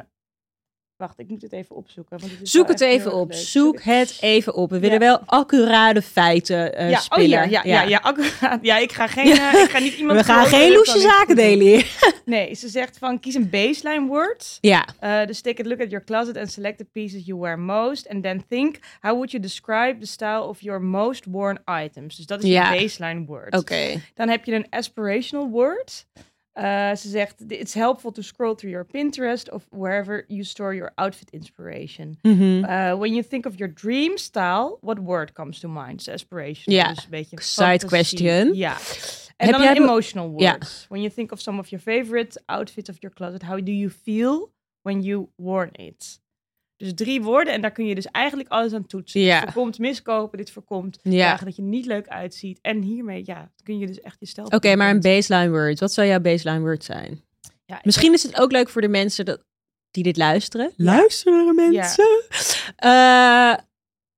A: wacht, ik moet het even opzoeken. Want het is
B: Zoek
A: wel
B: het
A: echt heel
B: even
A: erg
B: op.
A: leuk.
B: Zoek het even op. We willen
A: Ja.
B: wel accurate feiten eh
A: ja, oh
B: spelen.
A: ja, ja, ja, ja, accuraat. ja, ik ga geen,
B: Ja.
A: eh, ik ga niet iemand
B: We gaan
A: geloven
B: geen
A: dat
B: loesje
A: dat niet
B: zaken
A: goed is.
B: delen hier.
A: Nee, ze zegt van kies een baseline woord.
B: Ja,
A: Uh, dus take a look at your closet and select the pieces you wear most. And then think, how would you describe the style of your most worn items? Dus dat is
B: Ja.
A: je baseline woord.
B: oké.
A: Dan heb je een aspirational word. Eh, ze zegt, it's helpful to scroll through your Pinterest of wherever you store your outfit inspiration.
B: Mhm.
A: Uh, when you think of your dream style, what word comes to mind? Dus aspirational,
B: Ja.
A: dus een beetje
B: Side
A: fantasie.
B: question.
A: Ja.
B: Heb
A: En dan
B: jij
A: een
B: be-
A: emotional word.
B: Ja.
A: When you think of some of your favorite outfits of your closet, how do you feel when you worn it? Dus drie woorden en daar kun je dus eigenlijk alles aan toetsen. Dus
B: Ja.
A: Dit voorkomt miskopen, dit voorkomt
B: Ja.
A: dagen dat je niet leuk uitziet. En hiermee, ja, kun je dus echt je stijl...
B: Oké, maar een baseline word. Wat zou jouw baseline word zijn?
A: Ja, ik-
B: Misschien is het ook leuk voor de mensen dat, die dit luisteren. Luisteren mensen? Eh,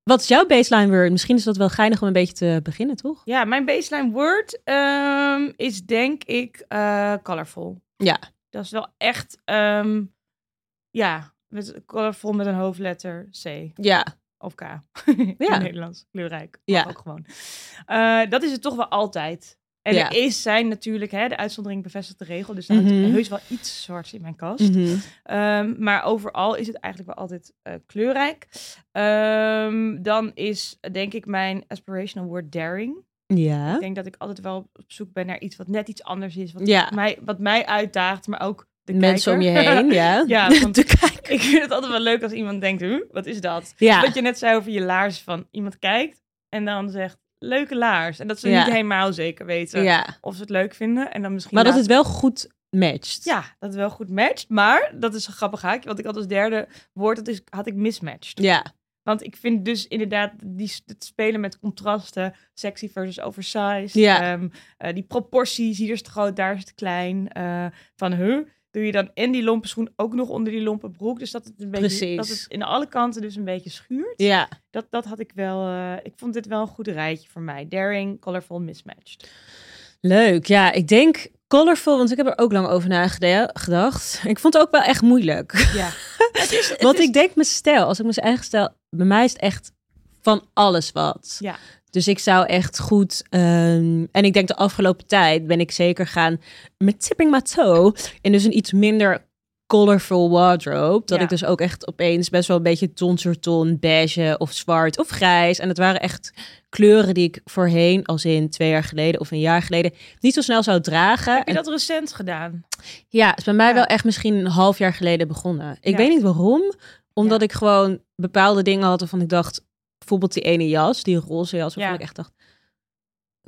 B: wat is jouw baseline word? Misschien is dat wel geinig om een beetje te beginnen, toch?
A: Ja, mijn baseline word ehm, is denk ik eh, colorful.
B: Ja.
A: Dat is wel echt, ehm, ja, met, colorful met een hoofdletter C
B: Ja.
A: of K. In
B: Ja.
A: Nederlands, kleurrijk.
B: Ja.
A: Ja. Ook gewoon. Eh, dat is het toch wel altijd. En
B: Ja.
A: er is zijn natuurlijk, hè, de uitzondering bevestigt de regel. Dus daar
B: Mhm.
A: hangt heus wel iets zwarts in mijn kast.
B: Mhm.
A: Ehm, maar overal is het eigenlijk wel altijd eh, kleurrijk. Ehm, dan is eh, denk ik mijn aspirational word daring.
B: Ja.
A: Ik denk dat ik altijd wel op zoek ben naar iets wat net iets anders is. Wat,
B: Ja.
A: mij, wat mij uitdaagt, maar ook de
B: Mensen om je
A: kijker.
B: heen, ja.
A: Ja, want-
B: De kijker.
A: ik vind het altijd wel leuk als iemand denkt, huh, wat is dat?
B: Ja.
A: Wat je net zei over je laars, van iemand kijkt en dan zegt, leuke laars. En dat ze
B: Ja.
A: niet helemaal zeker weten
B: ja.
A: of ze het leuk vinden. En dan misschien
B: Maar dat het
A: later-
B: wel goed matcht.
A: Ja, dat het wel goed matcht. Maar, dat is een grappig haakje, want ik had als derde woord, dat is, had ik mismatched.
B: Ja.
A: Want ik vind dus inderdaad die, het spelen met contrasten, sexy versus oversized.
B: Ja.
A: ehm, eh, die proporties, hier is het groot, daar is het klein. eh, van huh, doe je dan en die lompe schoen ook nog onder die lompe broek. Dus dat het een beetje,
B: Precies.
A: dat het in alle kanten dus een beetje schuurt.
B: Ja.
A: Dat, dat had ik wel, eh, ik vond dit wel een goed rijtje voor mij. Daring, colorful, mismatched.
B: Leuk, ja. Ik denk colorful, want ik heb er ook lang over nagedacht. Ik vond het ook wel echt moeilijk.
A: Ja.
B: Want ik denk mijn stijl, als ik mijn eigen stijl, bij mij is het echt van alles wat.
A: Ja.
B: Dus ik zou echt goed, ehm, en ik denk de afgelopen tijd ben ik zeker gaan met tipping my toe in dus een iets minder colorful wardrobe. Dat
A: Ja.
B: ik dus ook echt opeens best wel een beetje ton, beige of zwart of grijs. En het waren echt kleuren die ik voorheen, als in twee jaar geleden of een jaar geleden, niet zo snel zou dragen.
A: Heb je
B: En-
A: dat recent gedaan?
B: ja, is bij mij
A: Ja.
B: wel echt misschien een half jaar geleden begonnen. Ik
A: Ja.
B: weet niet waarom, Omdat ik gewoon bepaalde dingen had waarvan ik dacht... Bijvoorbeeld die ene jas, die roze jas, waarvan
A: Ja.
B: ik echt dacht...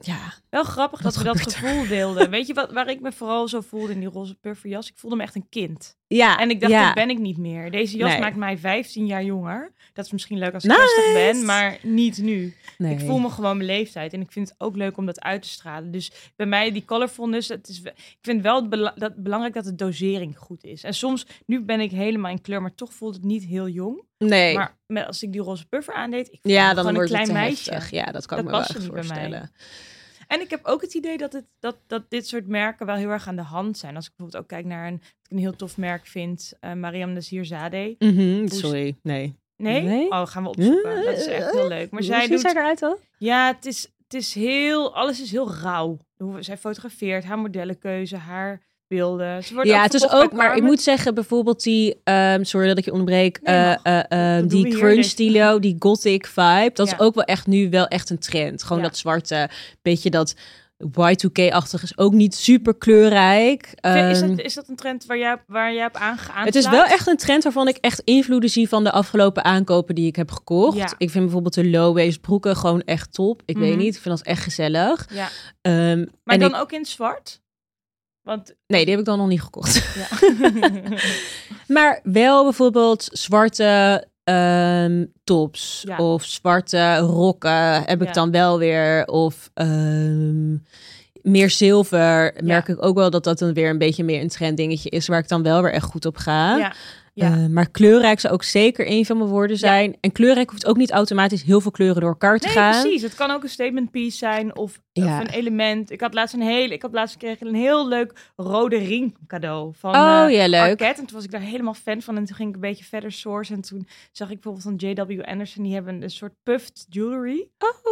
B: Ja,
A: Wel grappig
B: Wat
A: dat we dat
B: gebeurt er?
A: gevoel deelden. Weet je wat, waar ik me vooral zo voelde in die roze pufferjas? Ik voelde me echt een kind.
B: ja.
A: En ik dacht,
B: ja.
A: dat ben ik niet meer. Deze jas
B: Nee.
A: maakt mij 15 jaar jonger. Dat is misschien leuk als ik
B: Nice.
A: 60 ben, maar niet nu.
B: Nee.
A: Ik voel me gewoon mijn leeftijd. En ik vind het ook leuk om dat uit te stralen. Dus bij mij die colorfulness, het is, we- ik vind wel het bela- dat, belangrijk dat de dosering goed is. En soms, nu ben ik helemaal in kleur, maar toch voelt het niet heel jong.
B: Nee.
A: Maar met, als ik die roze puffer aandeed, ik voelde
B: ja,
A: me
B: dan
A: gewoon
B: wordt
A: een klein
B: het te
A: meisje.
B: heftig. Ja, dat kan
A: Dat
B: ik me wel
A: paste
B: echt
A: niet bij mij.
B: voorstellen.
A: En ik heb ook het idee dat, het, dat, dat dit soort merken wel heel erg aan de hand zijn. Als ik bijvoorbeeld ook kijk naar een, wat ik een heel tof merk vind, eh Mariam Nazir Zadeh.
B: Mhm,
A: is-
B: Sorry, nee.
A: Nee?
B: Nee.
A: Oh, gaan we opzoeken.
B: Eh,
A: Dat is echt heel leuk. Maar
B: Hoe
A: zij
B: ziet
A: doet...
B: zij eruit dan?
A: Ja, het is, het is heel... Alles is heel rauw. Hoe- Zij fotografeert haar modellenkeuze, haar beelden. Ze wordt
B: Ja,
A: ook
B: het is
A: verkocht bij
B: ook, maar ik
A: Carmen.
B: moet zeggen, bijvoorbeeld die, ehm, sorry dat ik je onderbreek,
A: Nee,
B: eh,
A: mag.
B: eh, eh,
A: Dat doen
B: die
A: we hier,
B: crunch
A: deze-
B: stilo, die gothic vibe, dat
A: Ja.
B: is ook wel echt nu wel echt een trend. Gewoon
A: Ja.
B: dat zwarte, beetje dat Y2K-achtig is ook niet super kleurrijk.
A: Is
B: Ehm,
A: dat, is dat een trend waar jij, waar jij op aangegaan
B: het is wel echt een trend waarvan ik echt invloeden zie van de afgelopen aankopen die ik heb gekocht.
A: Ja.
B: Ik vind bijvoorbeeld de low-waist broeken gewoon echt top. Ik weet
A: Mhm.
B: niet, ik vind dat echt gezellig.
A: Ja.
B: Ehm,
A: Maar
B: en
A: dan
B: ik-
A: ook in het zwart? Want...
B: nee, die heb ik dan nog niet gekocht.
A: Ja.
B: Maar wel bijvoorbeeld zwarte ehm, tops
A: Ja.
B: of zwarte rokken heb ik
A: Ja.
B: dan wel weer. Of ehm, meer zilver. Merk ik ook wel dat dat dan weer een beetje meer een trend dingetje is waar ik dan wel weer echt goed op ga.
A: ja. ja.
B: Ah, Eh, maar kleurrijk zou ook zeker een van mijn woorden zijn. En kleurrijk hoeft ook niet automatisch heel veel kleuren door elkaar te
A: Nee,
B: gaan.
A: precies. Het kan ook een statement piece zijn of, of
B: Ja.
A: een element. Ik had laatst een hele, ik had laatst gekregen een heel leuk rode ring cadeau van
B: Oh
A: eh,
B: ja, leuk.
A: Arquette. En toen was ik daar helemaal fan van en toen ging ik een beetje verder source en toen zag ik bijvoorbeeld van J.W. Anderson die hebben een soort puffed jewelry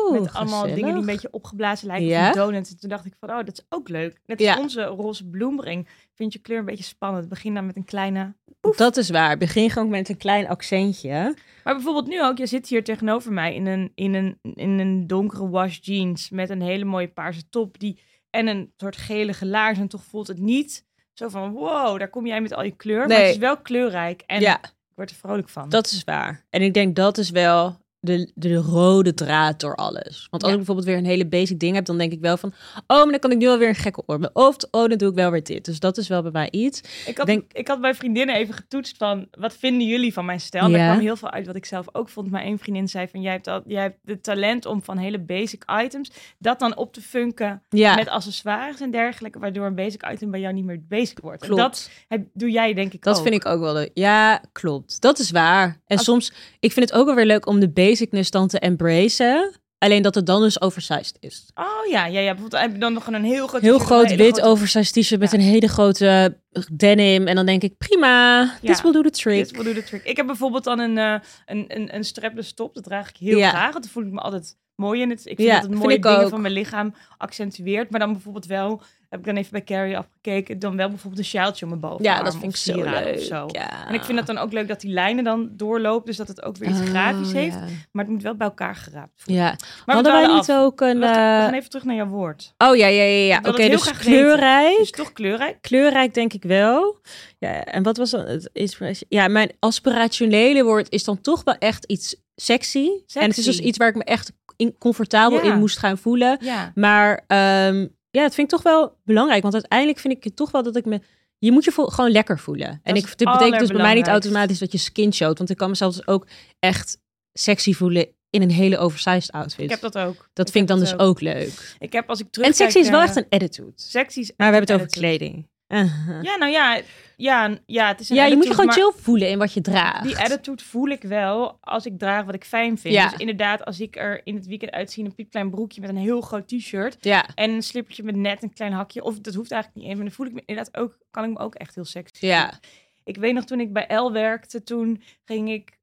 B: Oeh,
A: met allemaal
B: gezellig.
A: dingen die een beetje opgeblazen lijken
B: Ja.
A: van donuts. En toen dacht ik van oh dat is ook leuk. Net als
B: Ja.
A: onze roze bloemring. Vind je kleur een beetje spannend. Begin dan met een kleine.
B: Dat is waar. Begin gewoon met een klein accentje.
A: Maar bijvoorbeeld nu ook, je zit hier tegenover mij in een, in een, in een donkere wash jeans met een hele mooie paarse top die, en een soort gelige laars. En toch voelt het niet zo van wow, daar kom jij met al je kleur. Maar
B: Nee.
A: het is wel kleurrijk en
B: ja.
A: ik word er vrolijk van.
B: Dat is waar. En ik denk dat is wel de, de rode draad door alles. Want
A: Ja.
B: als ik bijvoorbeeld weer een hele basic ding heb, dan denk ik wel van... Oh, maar dan kan ik nu alweer een gekke oor. Of oh, dan doe ik wel weer dit. Dus dat is wel bij mij iets.
A: ik, had,
B: denk-
A: ik had mijn vriendinnen even getoetst van wat vinden jullie van mijn stijl. En
B: Ja.
A: Daar kwam heel veel uit wat ik zelf ook vond. Mijn één vriendin zei van jij hebt, al, jij hebt het talent om van hele basic items dat dan op te funken
B: Ja,
A: met accessoires en dergelijke. Waardoor een basic item bij jou niet meer basic wordt. En
B: klopt.
A: dat
B: Dat,
A: heb- doe jij denk ik ook.
B: vind ik ook wel leuk. Ja, klopt. Dat is waar. En
A: Als-
B: soms, ik vind het ook wel weer leuk om de basicness dan te embracen. Alleen dat het dan dus oversized is.
A: Oh ja, ja, ja. Bijvoorbeeld heb je dan nog een heel groot, t-shirt
B: Heel
A: of een
B: groot
A: hele
B: wit
A: grote-
B: oversized t-shirt met
A: Ja.
B: een hele grote denim. En dan denk ik, prima, this will do the trick.
A: Dit will do the trick. Ik heb bijvoorbeeld dan een, eh, een, een, een strapless top. Dat draag ik heel
B: Ja.
A: graag. Want dan voel ik me altijd mooi in het. Ik vind
B: Ja,
A: dat het
B: vind
A: mooie
B: ik
A: dingen
B: ook.
A: van mijn lichaam accentueert. Maar dan bijvoorbeeld wel, heb ik dan even bij Carrie afgekeken, dan wel bijvoorbeeld een sjaaltje om mijn bovenarm.
B: Ja, dat vind ik
A: of
B: zo
A: sieraden
B: leuk.
A: Of zo.
B: Ja.
A: En ik vind dat dan ook leuk dat die lijnen dan doorlopen. Dus dat het ook
B: Ah,
A: weer iets grafisch heeft. Maar het moet wel bij elkaar geraapt worden.
B: Oh, Ja.
A: Maar
B: Hadden
A: we
B: wij
A: dwalen
B: niet
A: af.
B: ook een...
A: Wacht, we gaan
B: eh,
A: even terug naar jouw woord.
B: Oh ja, ja, ja. ja.
A: Ik wil
B: Oké,
A: dat heel
B: dus
A: graag
B: kleurrijk.
A: Dus toch kleurrijk?
B: Kleurrijk denk ik wel. Ja, en wat was dan het inspiratie? Ja, mijn aspirationele woord is dan toch wel echt iets sexy. En het is dus
A: Sexy.
B: iets waar ik me echt in, comfortabel
A: Ja.
B: in moest gaan voelen.
A: Ja.
B: Maar ehm, ja, het vind ik toch wel belangrijk. Want uiteindelijk vind ik het toch wel dat ik me... Je moet je vo- gewoon lekker voelen. En
A: is
B: ik,
A: het
B: dit betekent dus bij mij niet
A: allerbelangrijkste.
B: automatisch dat je skin showt. Want ik kan mezelf dus ook echt sexy voelen in een hele oversized outfit.
A: Ik heb dat ook.
B: Dat vind ik
A: heb
B: dan
A: dat
B: dus
A: ook.
B: ook leuk.
A: Ik heb als ik terug
B: En sexy is wel echt een attitude.
A: Sexy is
B: Maar we hebben het over
A: attitude.
B: kleding. Aha.
A: Ja, nou ja, ja, ja het is
B: Ja,
A: een
B: je moet je
A: attitude,
B: gewoon
A: maar
B: chill voelen in wat je draagt.
A: Die attitude voel ik wel als ik draag wat ik fijn vind.
B: Ja.
A: Dus inderdaad, als ik er in het weekend uitzie in een piepklein broekje met een heel groot t-shirt
B: Ja,
A: en een slippertje met net een klein hakje, of dat hoeft eigenlijk niet eens, maar dan voel ik me inderdaad ook, kan ik me ook echt heel sexy.
B: ja.
A: voelen. Ik weet nog toen ik bij L werkte, toen ging ik,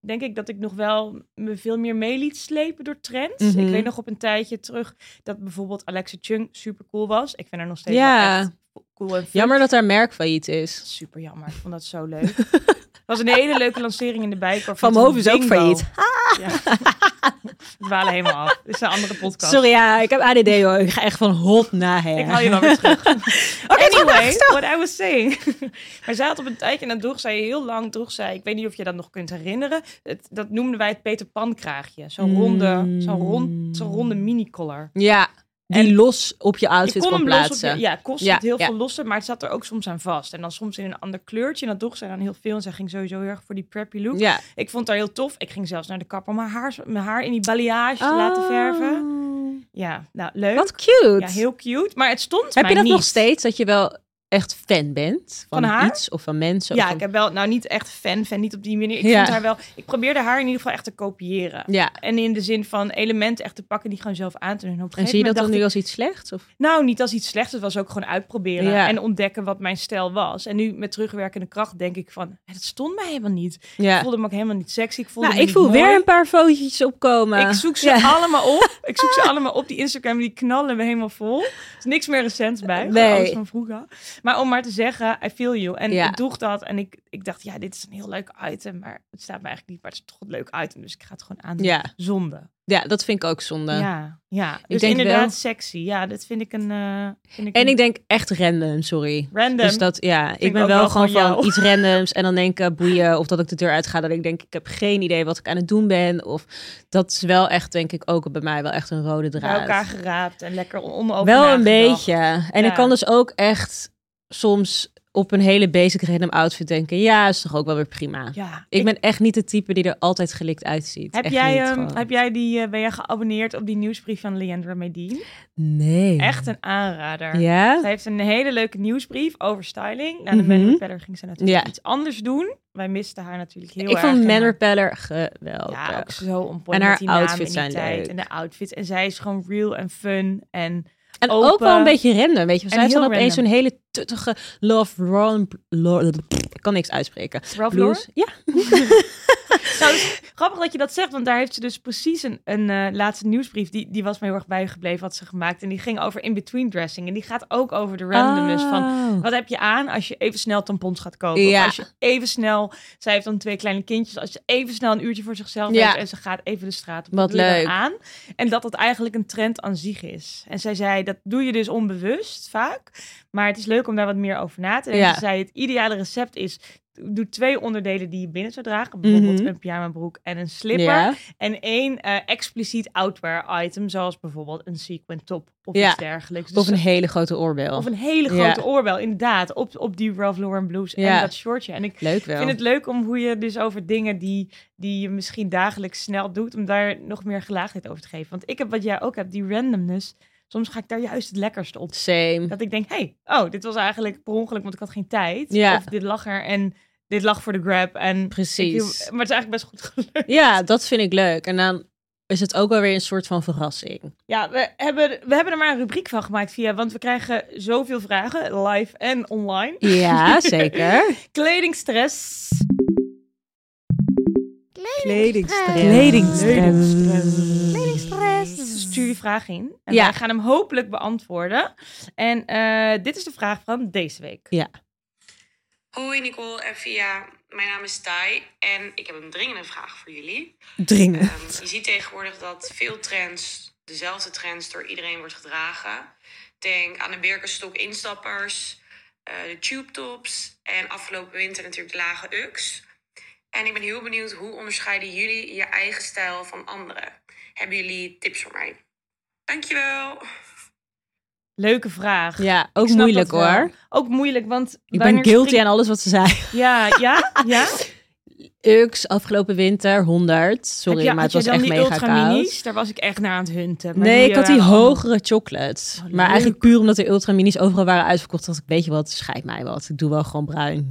A: denk ik dat ik nog wel me veel meer mee liet slepen door trends.
B: Mhm.
A: Ik weet nog op een tijdje terug dat bijvoorbeeld Alexa Chung super cool was. Ik vind haar nog steeds
B: Ja.
A: wel echt cool en fit.
B: Jammer dat haar merk failliet is.
A: Super jammer. Ik vond dat zo leuk. Het was een hele leuke lancering in de bijkorf.
B: Van
A: Met een
B: Hoven is ook
A: bingo.
B: failliet.
A: Ja. We dwalen helemaal af. Dit is een andere podcast.
B: Sorry, ja, ik heb ADD hoor. Ik ga echt van hot naar her.
A: Ik haal je wel weer terug.
B: Oké, het is
A: anyway, what I was saying. maar zij had op een tijdje, en dat droeg zij heel lang, droeg zij, ik weet niet of je dat nog kunt herinneren, het, dat noemden wij het Peter Pan kraagje. Zo'n ronde,
B: Mm.
A: zo'n rond, zo'n ronde mini-collar.
B: Ja, die los op je
A: Je
B: outfit
A: kon
B: kan
A: hem los op
B: plaatsen.
A: je, ja, kost
B: Ja,
A: het heel
B: ja.
A: veel lossen, maar het zat er ook soms aan vast. En dan soms in een ander kleurtje, en dat droeg zij dan heel veel. En zij ging sowieso heel erg voor die preppy look.
B: ja.
A: Ik vond haar heel tof. Ik ging zelfs naar de kapper om mijn haar, mijn haar in die balayage te laten verven. Ja, nou, leuk.
B: Oh. Wat cute.
A: Ja, heel cute. Maar het stond
B: heb
A: mij
B: je dat
A: niet.
B: nog steeds, dat je wel echt fan bent van,
A: Van haar?
B: iets of van mensen? of
A: Ja,
B: van-
A: ik heb wel, nou niet echt fan, fan, niet op die manier. Ik
B: Ja.
A: vond haar wel, ik probeerde haar in ieder geval echt te kopiëren.
B: ja.
A: En in de zin van elementen echt te pakken die gewoon zelf aan te doen. En op een
B: En
A: gegeven
B: zie je dat dan
A: moment
B: nu
A: dacht
B: als iets slechts? Of?
A: ik, nou niet als iets slechts, het was ook gewoon uitproberen
B: Ja.
A: en ontdekken wat mijn stijl was. En nu met terugwerkende kracht denk ik van, het stond mij helemaal niet. Ik
B: Ja.
A: voelde me ook helemaal niet sexy. Ik voelde
B: Nou,
A: me
B: ik
A: niet
B: voel weer
A: mooi.
B: een paar fotootjes opkomen.
A: Ik zoek ze allemaal op. Ik zoek ze allemaal op. Die Instagram die knallen we helemaal vol. Er is niks meer recents bij. Gewoon
B: Nee.
A: Alles van vroeger. Maar om maar te zeggen, I feel you. En
B: Ja.
A: ik droeg dat en ik, ik dacht, ja, dit is een heel leuk item. Maar het staat me eigenlijk niet, maar het is toch een leuk item. Dus ik ga het gewoon aan.
B: Ja.
A: Zonde.
B: ja, dat vind ik ook zonde.
A: Ja, ja. Dus
B: denk
A: inderdaad
B: wel-
A: sexy. Ja, dat vind ik een... eh, vind ik
B: En
A: een
B: ik denk echt random, sorry.
A: Random.
B: Dus dat, ja, ik
A: ik
B: ben
A: ook
B: wel
A: wel
B: gewoon
A: van
B: van
A: jou.
B: iets randoms en dan denk ik eh, boeien of dat ik de deur uitga dat ik denk ik heb geen idee wat ik aan het doen ben of dat is wel echt denk ik ook bij mij wel echt een rode
A: bij
B: draad.
A: elkaar geraapt en lekker om- om over
B: wel een
A: nagedacht.
B: beetje. En
A: Ja.
B: ik kan dus ook echt soms op een hele basic random outfit denken. Ja, is toch ook wel weer prima.
A: Ja.
B: Ik ben echt niet de type die er altijd gelikt uitziet.
A: Heb
B: Echt
A: jij,
B: niet,
A: ehm,
B: gewoon.
A: heb jij die, eh, ben jij geabonneerd op die nieuwsbrief van Leandra Medine?
B: Nee.
A: Echt een aanrader.
B: Ja?
A: Zij heeft een hele leuke nieuwsbrief over styling. Nou, de
B: Oh. Mhm.
A: Man Repeller ging ze natuurlijk
B: Ja.
A: iets anders doen. Wij misten haar natuurlijk heel
B: ik
A: erg.
B: vond
A: En
B: Man
A: haar-
B: Repeller geweldig.
A: Ja, ook zo onpoint
B: En haar
A: met die naam en
B: outfits
A: die
B: zijn
A: tijd
B: leuk.
A: En de outfits. En zij is gewoon real en fun. En
B: En
A: Open.
B: ook wel een beetje random, weet je. Zij
A: En
B: heeft dan
A: heel
B: opeens zo'n
A: random.
B: hele tuttige Love Ron... Lo- ik kan niks uitspreken.
A: Ralph Lauren.
B: Blues. Ja.
A: Nou, het is grappig dat je dat zegt, want daar heeft ze dus precies een, een eh, laatste nieuwsbrief. Die, die was me heel erg bijgebleven, had ze gemaakt. En die ging over in-between dressing. En die gaat ook over de randomness van
B: Oh.
A: Wat heb je aan als je even snel tampons gaat kopen?
B: Ja.
A: Of als je even snel... Zij heeft dan twee kleine kindjes. Als ze even snel een uurtje voor zichzelf
B: Ja.
A: heeft... en ze gaat even de straat op.
B: Wat
A: doe je dan
B: leuk.
A: Aan, en dat dat eigenlijk een trend aan zich is. En zij zei, dat doe je dus onbewust vaak. Maar het is leuk om daar wat meer over na te denken.
B: Ja.
A: Ze zei, het ideale recept is... Doe twee onderdelen die je binnen zou dragen. Bijvoorbeeld
B: Mhm.
A: een pyjamabroek en een slipper.
B: Ja.
A: En één eh, expliciet outwear item. Zoals bijvoorbeeld een sequin top of
B: Ja.
A: iets dergelijks. Dus
B: Of een hele grote oorbel.
A: of een hele
B: Ja.
A: grote oorbel, inderdaad. Op, op die Ralph Lauren blouse
B: Ja.
A: en dat shortje. En ik
B: Leuk wel.
A: vind het leuk om hoe je dus over dingen die, die je misschien dagelijks snel doet... om daar nog meer gelaagdheid over te geven. Want ik heb wat jij ook hebt, die randomness. Soms ga ik daar juist het lekkerste op.
B: Same.
A: Dat ik denk, hey, oh, dit was eigenlijk per ongeluk, want ik had geen tijd.
B: Ja.
A: Of dit lag er en dit lag voor de grab. En Ik, maar het
B: Precies.
A: is eigenlijk best goed gelukt.
B: Ja, dat vind ik leuk. En dan is het ook wel weer een soort van verrassing.
A: Ja, we hebben, we hebben er maar een rubriek van gemaakt via... want we krijgen zoveel vragen, live en online.
B: Ja, zeker.
A: Kledingstress.
B: Kledingstress.
A: Dus Stuur je vraag in. En
B: Ja.
A: wij gaan hem hopelijk beantwoorden. En eh, dit is de vraag van deze week.
B: Ja.
C: Hoi Nicole en Via, mijn naam is Tai en ik heb een dringende vraag voor jullie.
B: Dringen.
C: Ehm, je ziet tegenwoordig dat veel trends, dezelfde trends, door iedereen wordt gedragen. Denk aan de Birkenstock instappers, eh, de tube tops en afgelopen winter natuurlijk de lage UX. En ik ben heel benieuwd, hoe onderscheiden jullie je eigen stijl van anderen? Hebben jullie tips voor mij? Dankjewel!
A: Leuke vraag.
B: Ja,
A: Ik
B: ook
A: snap
B: moeilijk
A: dat wel.
B: hoor.
A: Ook moeilijk, want...
B: Ik ben
A: wanneer
B: guilty
A: spring-
B: aan alles wat ze zei.
A: Ja, ja, ja.
B: Ux, afgelopen winter, 100. Sorry,
A: Heb je-
B: maar
A: had
B: het
A: je
B: was
A: dan
B: echt
A: die
B: mega
A: ultra
B: koud.
A: minis? Daar was ik echt naar aan het hunten. Maar
B: Nee, ik had die eh, Oh,
A: waren allemaal-
B: hogere chocolate. maar
A: leuk.
B: eigenlijk puur omdat de ultraminis overal waren uitverkocht, dacht ik, weet je wat, schijt mij wat. Ik doe wel gewoon bruin.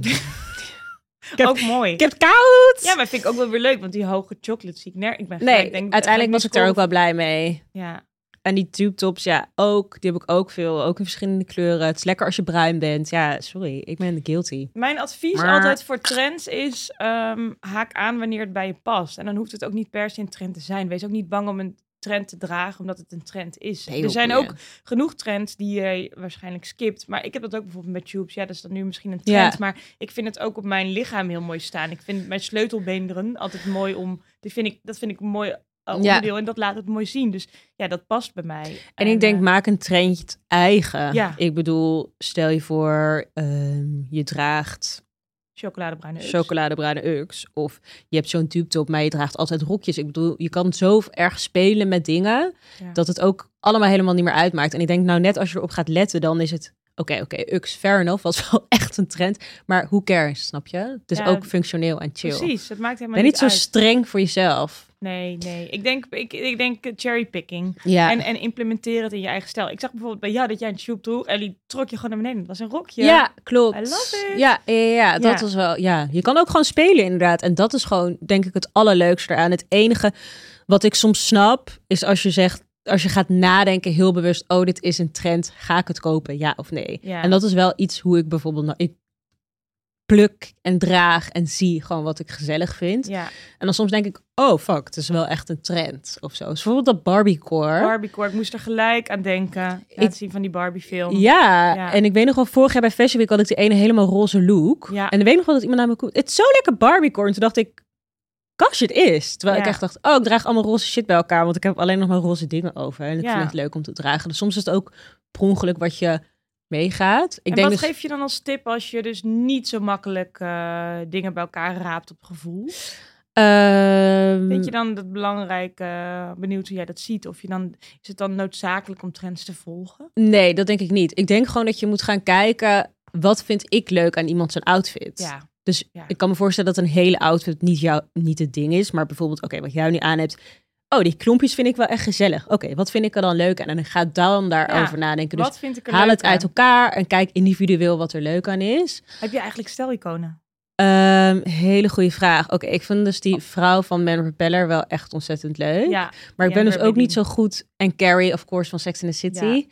B: heb-
A: Ook mooi.
B: ik heb koud!
A: Ja, maar vind ik ook wel weer leuk, want die hoge chocolate zie ik nergens. Ik ben gelijk,
B: nee,
A: denk,
B: uiteindelijk
A: ga
B: was ik er ook
A: miscallen.
B: wel blij mee.
A: Ja.
B: En die tube tops, ja, ook. Die heb ik ook veel. Ook in verschillende kleuren. Het is lekker als je bruin bent. Ja, sorry, ik ben guilty.
A: Mijn advies
B: Maar-
A: altijd voor trends is: ehm, haak aan wanneer het bij je past. En dan hoeft het ook niet per se een trend te zijn. Wees ook niet bang om een trend te dragen, omdat het een trend is.
B: Heel
A: er zijn
B: goeie.
A: ook genoeg trends die je waarschijnlijk skipt. Maar ik heb dat ook bijvoorbeeld met tubes. Ja, dat is dan nu misschien een
B: Ja.
A: trend. Maar ik vind het ook op mijn lichaam heel mooi staan. Ik vind mijn sleutelbeenderen altijd mooi om. Die vind ik, dat vind ik een mooi eh,
B: Ja.
A: onderdeel. En dat laat het mooi zien. Dus ja, dat past bij mij.
B: En ik denk,
A: eh,
B: maak een trendje het eigen.
A: Ja.
B: Ik bedoel, stel je voor, ehm, je draagt
A: chocoladebruine ups.
B: chocoladebruine Ux. Of je hebt zo'n tube top, maar je draagt altijd rokjes. Ik bedoel, je kan zo erg spelen met dingen
A: Ja.
B: dat het ook allemaal helemaal niet meer uitmaakt. En ik denk, nou, net als je erop gaat letten, dan is het. Oké, oké, Ux, fair enough, was wel echt een trend. Maar who cares, snap je? Het is
A: Ja,
B: ook functioneel en chill.
A: Precies, het maakt helemaal
B: Ben niet zo
A: uit.
B: streng voor jezelf.
A: Nee, nee. Ik denk, ik, ik denk eh, cherrypicking.
B: Ja,
A: En, en implementeren het in je eigen stijl. Ik zag bijvoorbeeld bij jou dat jij een tube droeg en die trok je gewoon naar beneden. Dat was een rokje.
B: ja. klopt.
A: I love it.
B: Ja, ja, ja, ja, dat
A: Ja.
B: is wel. Ja, je kan ook gewoon spelen inderdaad. En dat is gewoon, denk ik, het allerleukste eraan. Het enige wat ik soms snap is als je zegt, als je gaat nadenken heel bewust, oh, dit is een trend, ga ik het kopen, ja of nee.
A: Ja.
B: En dat is wel iets hoe ik bijvoorbeeld, nou, ik pluk en draag en zie gewoon wat ik gezellig vind.
A: Ja,
B: En dan soms denk ik, oh fuck, het is wel echt een trend of zo. Dus bijvoorbeeld dat Barbiecore.
A: Barbiecore. Ik moest er gelijk aan denken. Aan
B: Ik-
A: het zien van die Barbie film.
B: Ja,
A: Ja.
B: en ik weet nog wel, vorig jaar bij Fashion Week had ik die ene helemaal roze look.
A: Ja.
B: En ik weet nog wel dat iemand naar me komt. Het is zo lekker Barbiecore. En toen dacht ik, kastje het is. Terwijl ik
A: Ja.
B: echt dacht, oh, ik draag allemaal roze shit bij elkaar. Want ik heb alleen nog maar roze dingen over. En ik
A: Ja.
B: vind het leuk om te dragen. Dus soms is het ook per ongeluk wat je meegaat. Ik
A: en
B: denk
A: wat
B: dus,
A: geef je dan als tip als je dus niet zo makkelijk eh, dingen bij elkaar raapt op gevoel?
B: Mm. ehm,
A: Vind je dan dat belangrijk, eh, benieuwd hoe jij dat ziet, of je dan, is het dan noodzakelijk om trends te volgen?
B: Nee, dat denk ik niet. Ik denk gewoon dat je moet gaan kijken, wat vind ik leuk aan iemand zijn outfit?
A: Ja,
B: Dus
A: Ja.
B: ik kan me voorstellen dat een hele outfit niet, jou, niet het ding is. Maar bijvoorbeeld, oké, wat jij nu aan hebt. Oh, die klompjes vind ik wel echt gezellig. Oké, wat vind ik er dan leuk aan? En ga dan daarover
A: Ja,
B: nadenken. Dus
A: wat vind ik er
B: haal
A: leuk
B: het uit
A: aan?
B: elkaar en kijk individueel wat er leuk aan is.
A: Heb je eigenlijk steliconen?
B: Ehm, hele goede vraag. Oké, ik vind dus die vrouw van Man Repeller wel echt ontzettend leuk.
A: Ja,
B: maar ik ben
A: Amber
B: dus ook
A: Baby.
B: niet zo goed. En Carrie, of course, van Sex and the City.
A: Ja.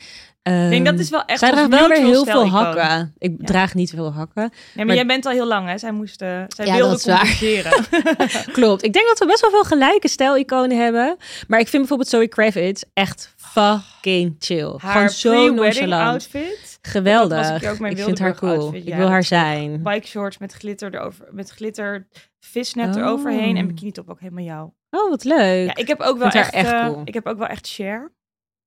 B: Ehm,
A: ik denk dat is wel echt
B: zij
A: ons
B: draagt wel weer
A: mutual
B: heel veel
A: stelicoon.
B: hakken. Ik
A: Ja.
B: draag niet veel hakken.
A: Ja, maar,
B: Maar-
A: jij bent al heel lang, hè? Zij, moest, eh, zij
B: Ja, dat
A: wilde
B: is waar.
A: compenseren.
B: Klopt. Ik denk dat we best wel veel gelijke stijliconen hebben. Maar ik vind bijvoorbeeld Zoe Kravitz echt fucking chill.
A: Haar
B: Gewoon zo
A: pre-wedding
B: nonchalant.
A: outfit.
B: Geweldig.
A: Dat was ik ook mijn
B: vind haar cool.
A: Wildeburg outfit,
B: ik
A: ja,
B: wil haar
A: dat-
B: zijn.
A: Bike shorts met glitter, erover, met glitter visnet
B: Oh.
A: eroverheen en bikini top ook helemaal jou.
B: Oh, wat leuk.
A: Ja, ik heb ook wel
B: vind
A: echt,
B: haar echt
A: eh,
B: cool.
A: ik heb ook wel echt share.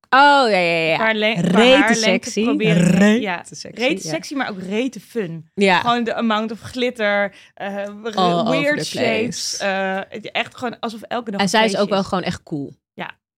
B: Oh, ja, ja, ja.
A: Haar, le- qua
B: Rete
A: haar lengte
B: sexy.
A: proberen-
B: Rete
A: ja,
B: sexy.
A: rete
B: ja.
A: sexy, maar ook rete fun.
B: Ja.
A: Gewoon de amount of glitter, eh, r-
B: All over
A: weird
B: the place.
A: shapes. eh, het- echt gewoon alsof elke dag
B: En
A: een
B: zij is
A: feestje
B: ook wel gewoon echt cool.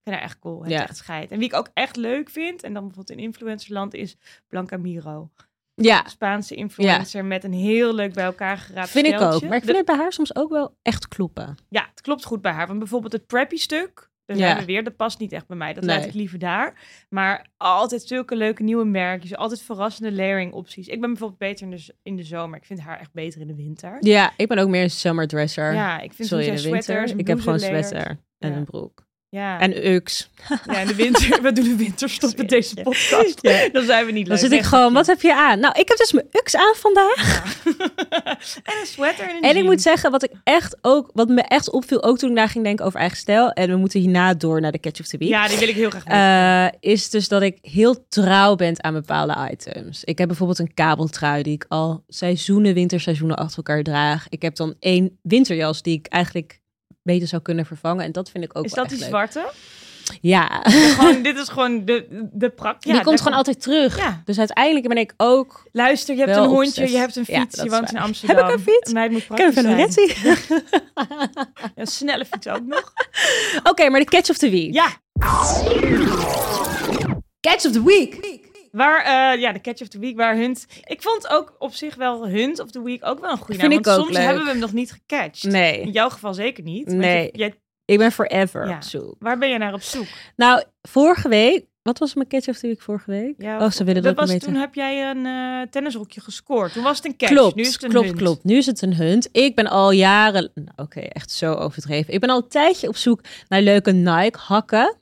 A: Ik vind haar echt cool. Het
B: Ja.
A: echt scheid. En wie ik ook echt leuk vind, en dan bijvoorbeeld in influencerland, is Blanca Miro.
B: Ja,
A: Spaanse influencer met een heel leuk bij elkaar geraapt
B: vind ik ook.
A: steltje.
B: Maar ik
A: De-
B: vind het bij haar soms ook wel echt kloppen.
A: Ja, het klopt goed bij haar. Want bijvoorbeeld het preppy stuk, daar
B: Ja.
A: zijn we weer, dat past niet echt bij mij. Dat laat
B: Nee.
A: ik liever daar. Maar altijd zulke leuke nieuwe merkjes, altijd verrassende layering opties. Ik ben bijvoorbeeld beter in de, z- in de zomer. Ik vind haar echt beter in de winter.
B: Ja, ik ben ook meer een summer dresser.
A: Ja, ik vind
B: Sorry, in
A: zo'n
B: de winter.
A: sweaters,
B: Ik heb gewoon een
A: blouses layers.
B: sweater en
A: Ja.
B: een broek.
A: Ja. En
B: En ux.
A: ja, in de winter. we doen de winterstop met deze podcast.
B: Ja.
A: Dan zijn we niet
B: Dan
A: leuk.
B: zit ik
A: Echt.
B: gewoon, wat heb je aan? Nou, ik heb dus mijn ux aan vandaag.
A: en een sweater en een
B: Ah. En ik
A: jean.
B: moet zeggen, wat ik echt ook, wat me echt opviel, ook toen ik daar ging denken over eigen stijl, en we moeten hierna door naar de Catch of the Week,
A: Ja, die wil ik heel graag weten.
B: eh, is dus dat ik heel trouw ben aan bepaalde items. Ik heb bijvoorbeeld een kabeltrui die ik al seizoenen, winterseizoenen achter elkaar draag. Ik heb dan één winterjas die ik eigenlijk beter zou kunnen vervangen. En dat vind ik ook
A: Is
B: wel
A: dat die
B: echt leuk.
A: zwarte?
B: Ja.
A: gewoon, dit is gewoon de, de praktijk.
B: die komt gewoon altijd terug.
A: Ja.
B: Dus uiteindelijk ben ik ook
A: Luister, je hebt
B: Wel
A: een hondje,
B: obsessief.
A: je hebt een
B: Ja,
A: fiets,
B: dat
A: je
B: is
A: woont in
B: waar.
A: Amsterdam.
B: Heb ik een fiets?
A: Een meid moet praktisch
B: Kevin
A: zijn.
B: Loretti.
A: Een snelle fiets ook nog.
B: Oké, maar de catch of the week.
A: Ja,
B: Catch of the week.
A: waar, eh, ja, de Catch of the Week, waar Hunt... Ik vond ook op zich wel Hunt of the Week ook wel een goede naam.
B: Vind ik
A: want
B: ook
A: soms
B: leuk.
A: hebben we hem nog niet gecatcht.
B: Nee.
A: In jouw geval zeker niet. want
B: Nee.
A: je- jij-
B: Ik ben forever
A: Ja.
B: op zoek.
A: waar ben je naar op zoek?
B: Nou, vorige week... Wat was mijn catch of the week vorige week?
A: Ja,
B: oh, ze willen dat
A: dat
B: ook
A: was,
B: weten.
A: Toen heb jij een eh, tennisrokje gescoord. Toen was het een catch,
B: klopt,
A: nu is het een
B: klopt,
A: Hunt.
B: klopt. Nu is het een hunt. Ik ben al jaren... nou, Oké, echt zo overdreven. Ik ben al een tijdje op zoek naar leuke Nike-hakken.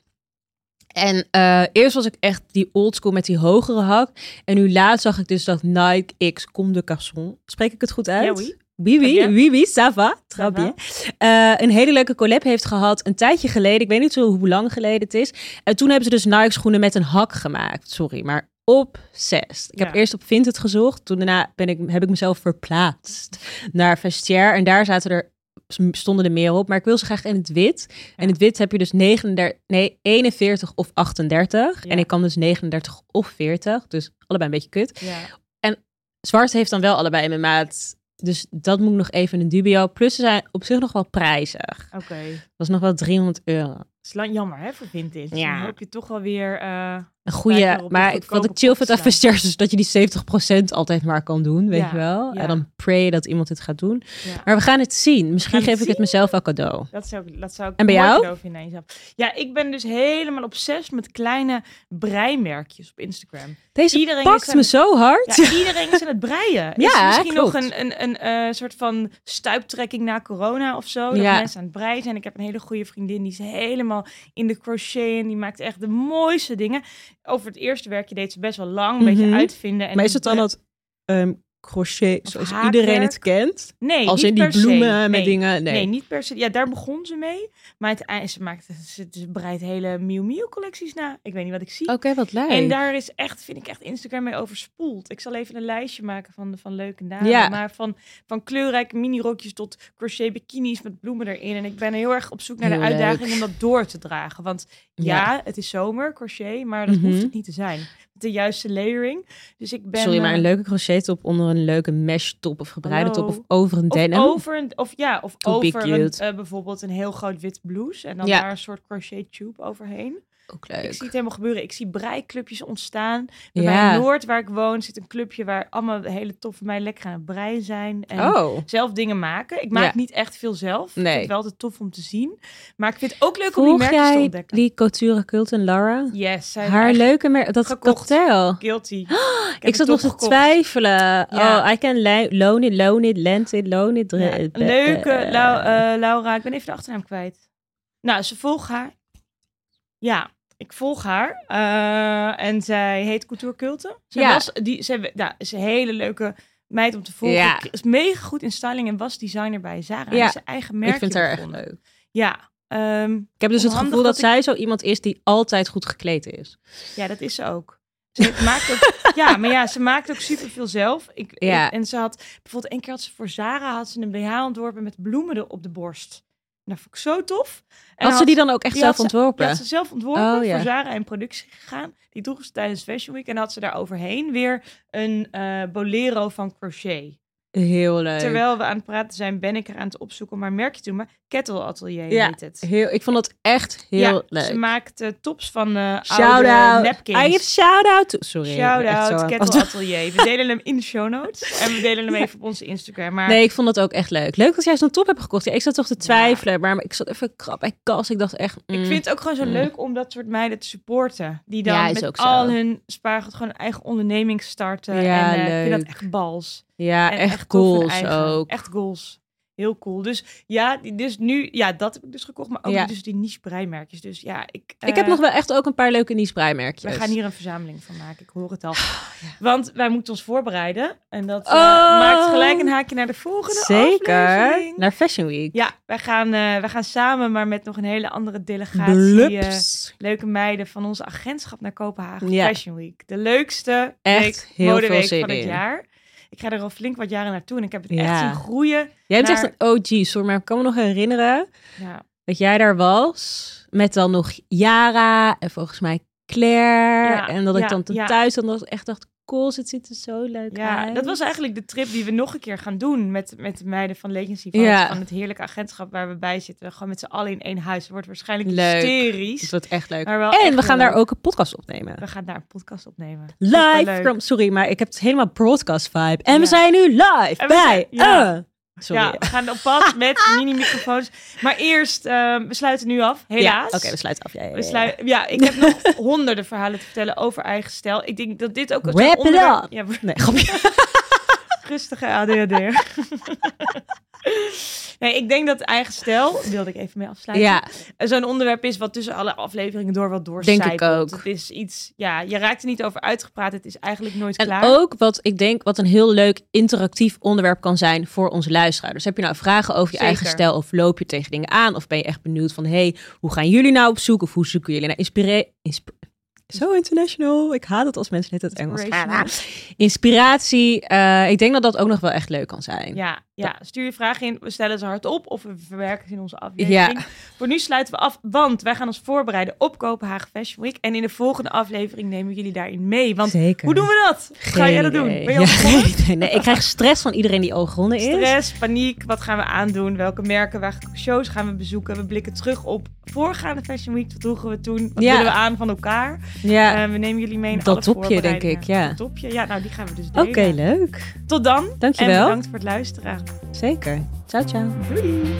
B: En eh, eerst was ik echt die oldschool met die hogere hak. En nu laatst zag ik dus dat Nike X Comme de Garçon... Spreek ik het goed uit?
A: Ja, oui.
B: Oui, oui,
A: Ja.
B: oui, oui, ça va. Très
A: Ça va.
B: bien. Eh, een hele leuke collab heeft gehad een tijdje geleden. Ik weet niet zo hoe lang geleden het is. En toen hebben ze dus Nike schoenen met een hak gemaakt. Sorry, maar op zes. Ik heb
A: Ja.
B: eerst op Vinted gezocht. Toen daarna ben ik, heb ik mezelf verplaatst naar Vestiaire. En daar zaten er stonden er meer op. Maar ik wil ze graag in het wit. En het wit heb je dus 39, nee, 41 of 38.
A: Ja.
B: En ik kan dus 39 of 40. Dus allebei een beetje kut.
A: Ja.
B: Zwart heeft dan wel allebei in mijn maat. Dus dat moet ik nog even een dubio. Plus ze zijn op zich nog wel prijzig.
A: Oké.
B: Dat is nog wel 300 euro.
A: is lang jammer, hè, voor vintage.
B: Ja.
A: Dan hoop je toch wel weer... eh,
B: Een
A: Lijkt
B: goede,
A: erop
B: maar
A: een
B: ik, wat ik
A: goedkope
B: chill vind aan
A: kortsluit.
B: vestiaires is dus dat je die 70% altijd maar kan doen, weet
A: Ja,
B: je wel.
A: ja.
B: En dan pray dat iemand dit gaat doen.
A: ja.
B: Maar we gaan het zien. Misschien
A: gaan
B: geef
A: het
B: ik het mezelf wel cadeau.
A: Dat zou, ik- dat zou ik
B: En bij
A: mooi
B: jou?
A: cadeau vinden aan jezelf. Ja, ik ben dus helemaal obsessief met kleine breimerkjes op Instagram.
B: Deze
A: Iedereen is
B: pakt
A: aan-
B: me zo hard.
A: Ja, iedereen is aan het breien. Is
B: Ja,
A: er misschien
B: klopt.
A: nog een, een, een eh, soort van stuiptrekking na corona of zo. Dat
B: Ja.
A: mensen aan het breien zijn. Ik heb een hele goede vriendin die is helemaal in de crochet. En die maakt echt de mooiste dingen. Over het eerste werkje deed ze best wel lang. Een beetje
B: Mhm.
A: uitvinden. En
B: maar is het dan
A: bre-
B: dat ehm, crochet,
A: Of
B: zoals
A: haakwerk?
B: iedereen het kent?
A: Nee,
B: Als
A: niet
B: in die
A: per se.
B: bloemen met
A: Nee.
B: dingen?
A: Nee.
B: Nee.
A: niet per se. Ja, daar begon ze mee. Maar het, ei- ze, maakt, ze, ze breidt hele Miu Miu collecties na. Ik weet niet wat ik zie.
B: Oké, wat leuk.
A: En daar is echt, vind ik echt Instagram mee overspoeld. Ik zal even een lijstje maken van, van leuke namen.
B: Ja.
A: Maar van, van kleurrijke minirokjes tot crochet bikinis met bloemen erin. En ik ben heel erg op zoek naar de
B: Heel leuk.
A: uitdaging om dat door te dragen. Want ja, het is zomer, crochet, maar dat
B: Mhm.
A: hoeft het niet te zijn. Met de juiste layering. Dus ik ben...
B: Sorry, maar
A: eh,
B: een leuke crochet top onder een leuke mesh top of gebreide top of
A: Hallo.
B: over een denim.
A: Of over een, of ja, of
B: To be
A: over een,
B: cute.
A: eh, bijvoorbeeld een heel groot wit blouse en dan
B: Ja.
A: daar een soort crochet tube overheen.
B: Ook
A: Ik
B: leuk.
A: zie het helemaal gebeuren. Ik zie breiclubjes ontstaan. Bij mij in
B: Ja.
A: Noord, waar ik woon, zit een clubje waar allemaal hele toffe mij lekker aan het breien zijn. En
B: Oh.
A: zelf dingen maken. Ik maak
B: Ja.
A: niet echt veel zelf. Ik
B: Nee.
A: vind het wel te tof om te zien. Maar ik vind het ook leuk om
B: Volg
A: die merkjes te
B: jij
A: ontdekken.
B: die Couture Cult en Lara?
A: Yes, zij
B: Haar
A: leuk.
B: leuke merk, dat
A: gekocht.
B: cocktail.
A: Guilty. Ik, heb
B: Ik
A: het toch
B: zat nog te
A: gekocht.
B: twijfelen.
A: Ja.
B: Oh, I can li- loan it, loan it, lend it, loan it. dre-
A: Ja,
B: eh,
A: een leuke
B: eh,
A: Lau- eh, Laura, ik ben even de achternaam kwijt. Nou, ze volgt haar. Ja, ik volg haar. Eh, en zij heet Couture Culte. Ze,
B: Ja.
A: was, die, ze, nou, ze is een hele leuke meid om te volgen.
B: Ja.
A: Is mega goed in styling en was designer bij Zara.
B: Ja.
A: Ja. Zijn eigen merk.
B: ik vind haar echt leuk.
A: Ja. ehm,
B: Ik heb dus het
A: Handig
B: gevoel dat
A: dat
B: zij zo iemand is die altijd goed gekleed is.
A: Ja, dat is ze ook. Ze maakt ook ja, maar ja, ze maakt ook superveel zelf. Ik, ik-
B: Ja.
A: en ze had bijvoorbeeld één keer had ze voor Zara had ze een BH ontworpen met bloemen er op de borst. En dat vond ik zo tof. En
B: had ze die dan ook echt
A: die
B: zelf
A: had ze-
B: ontworpen?
A: Ja, had ze zelf ontworpen,
B: Oh, ja.
A: voor Zara in productie gegaan. Die droeg ze tijdens Fashion Week. En had ze daar overheen weer een eh, bolero van crochet.
B: Heel leuk.
A: Terwijl we aan het praten zijn, ben ik er aan het opzoeken. Maar merk je toen maar, Kettle Atelier
B: Ja,
A: heet het.
B: Heel, ik vond dat echt heel
A: ja,
B: leuk.
A: ze maakt eh, tops van eh oude
B: Shout-out.
A: napkins.
B: I give shout-out to... Sorry. ik ben echt zo
A: Shout-out,
B: aan-
A: Kettle Atelier. We delen hem in de show notes. En we delen hem
B: Ja.
A: even op onze Instagram. Maar
B: Nee, ik vond dat ook echt leuk. Leuk dat jij zo'n top hebt gekocht. Ja, ik zat toch te twijfelen, maar ik zat even krap bij kast. Ik dacht echt... mm,
A: ik vind het ook gewoon zo
B: Mm.
A: leuk om dat soort meiden te supporten. Die dan
B: Ja, is ook
A: met
B: zo.
A: al hun spaargeld gewoon een eigen onderneming starten.
B: Ja,
A: en eh, ik vind dat
B: leuk.
A: echt bals.
B: Ja,
A: En
B: echt,
A: tof en
B: goals
A: eigen.
B: ook.
A: Echt goals. Heel cool. Dus ja, die- dus nu, ja, dat heb ik dus gekocht. Maar ook
B: Ja.
A: dus die niche breimerkjes. Dus ja, ik...
B: ik heb
A: eh,
B: nog wel echt ook een paar leuke niche-breimerkjes.
A: We gaan hier een verzameling van maken, ik hoor het al. Want wij moeten ons voorbereiden. En dat eh,
B: Oh.
A: maakt gelijk een haakje naar de volgende
B: Zeker.
A: aflevering.
B: Naar Fashion Week.
A: Ja, wij gaan, eh, wij gaan samen, maar met nog een hele andere delegatie. eh,
B: Blups.
A: leuke meiden van onze agentschap naar Kopenhagen.
B: Ja.
A: Fashion Week. De leukste
B: Echt
A: week,
B: heel
A: modeweek
B: veel zin
A: van het
B: in.
A: jaar. Ik ga er al flink wat jaren naartoe en ik heb het echt
B: Ja.
A: zien groeien.
B: Jij bent
A: naar-
B: echt een OG, sorry, maar ik kan me nog herinneren
A: Ja,
B: dat jij daar was met dan nog Yara en volgens mij Claire.
A: Ja,
B: en dat ik
A: ja,
B: dan te
A: ja.
B: thuis dan nog echt dacht, cool, het ziet er zo leuk uit.
A: ja, dat was eigenlijk de trip die we nog een keer gaan doen met, met de meiden van Legacy. Van,
B: Ja.
A: het, van het heerlijke agentschap waar we bij zitten. Gewoon met z'n allen in één huis. Het wordt waarschijnlijk
B: Leuk.
A: hysterisch.
B: Het wordt echt leuk.
A: Maar wel echt
B: En we
A: heel
B: gaan daar
A: leuk.
B: ook een podcast opnemen.
A: We gaan daar een podcast opnemen.
B: Live
A: Superleuk.
B: from, sorry, maar ik heb het helemaal broadcast vibe. En
A: Ja.
B: we zijn nu live
A: En we
B: bij.
A: zijn- ja.
B: eh. sorry.
A: Ja, we gaan op pad met mini-microfoons. Maar eerst, eh, we sluiten nu af, helaas.
B: Ja, Oké, we sluiten af. Ja, ja, ja,
A: We
B: ja.
A: slui- ja, ik heb nog honderden verhalen te vertellen over eigen stijl. Ik denk dat dit ook een
B: Wrap it
A: onderwerp-
B: up.
A: Ja,
B: Nee, grapje.
A: rustige ADHD. nee, ik denk dat eigen stijl, wilde ik even mee afsluiten.
B: Ja,
A: Zo'n onderwerp is wat tussen alle afleveringen door wat doorcijpelt.
B: Denk ik ook.
A: Het is iets, ja, je raakt er niet over uitgepraat. Het is eigenlijk nooit
B: En
A: klaar.
B: ook wat ik denk wat een heel leuk interactief onderwerp kan zijn voor onze luisteraars. Dus heb je nou vragen over je
A: Zeker.
B: eigen stijl of loop je tegen dingen aan? Of ben je echt benieuwd van, hey, hoe gaan jullie nou op zoek? Of hoe zoeken jullie naar inspiratie? Zo international. Ik haat het als mensen net het Engels.
A: Inspirational.
B: Inspiratie. eh, ik denk dat dat ook nog wel echt leuk kan zijn.
A: Ja, Ja, stuur je vragen in. We stellen ze hardop of we verwerken ze in onze aflevering. Voor nu sluiten we af, want wij gaan ons voorbereiden op Kopenhagen Fashion Week. En in de volgende aflevering nemen we jullie daarin mee. Want
B: Zeker.
A: hoe doen we dat? Ga
B: Geen
A: jij dat doen?
B: idee.
A: Ben je al
B: Ja,
A: begonnen?
B: geen idee. nee, ik krijg stress van iedereen die oogronde is.
A: Stress, paniek, wat gaan we aandoen? Welke merken, welke shows gaan we bezoeken? We blikken terug op voorgaande Fashion Week. Wat droegen we toen? Wat
B: Ja.
A: willen we aan van elkaar?
B: Ja.
A: Eh, we nemen jullie mee in
B: Dat
A: alle
B: topje, denk
A: voorbereidingen.
B: ik, ja.
A: Dat topje, ja. Nou, die gaan we dus
B: Oké,
A: delen.
B: leuk.
A: Tot dan. En
B: Dankjewel.
A: bedankt voor het luisteren.
B: Zeker. Ciao, ciao.
A: Doei.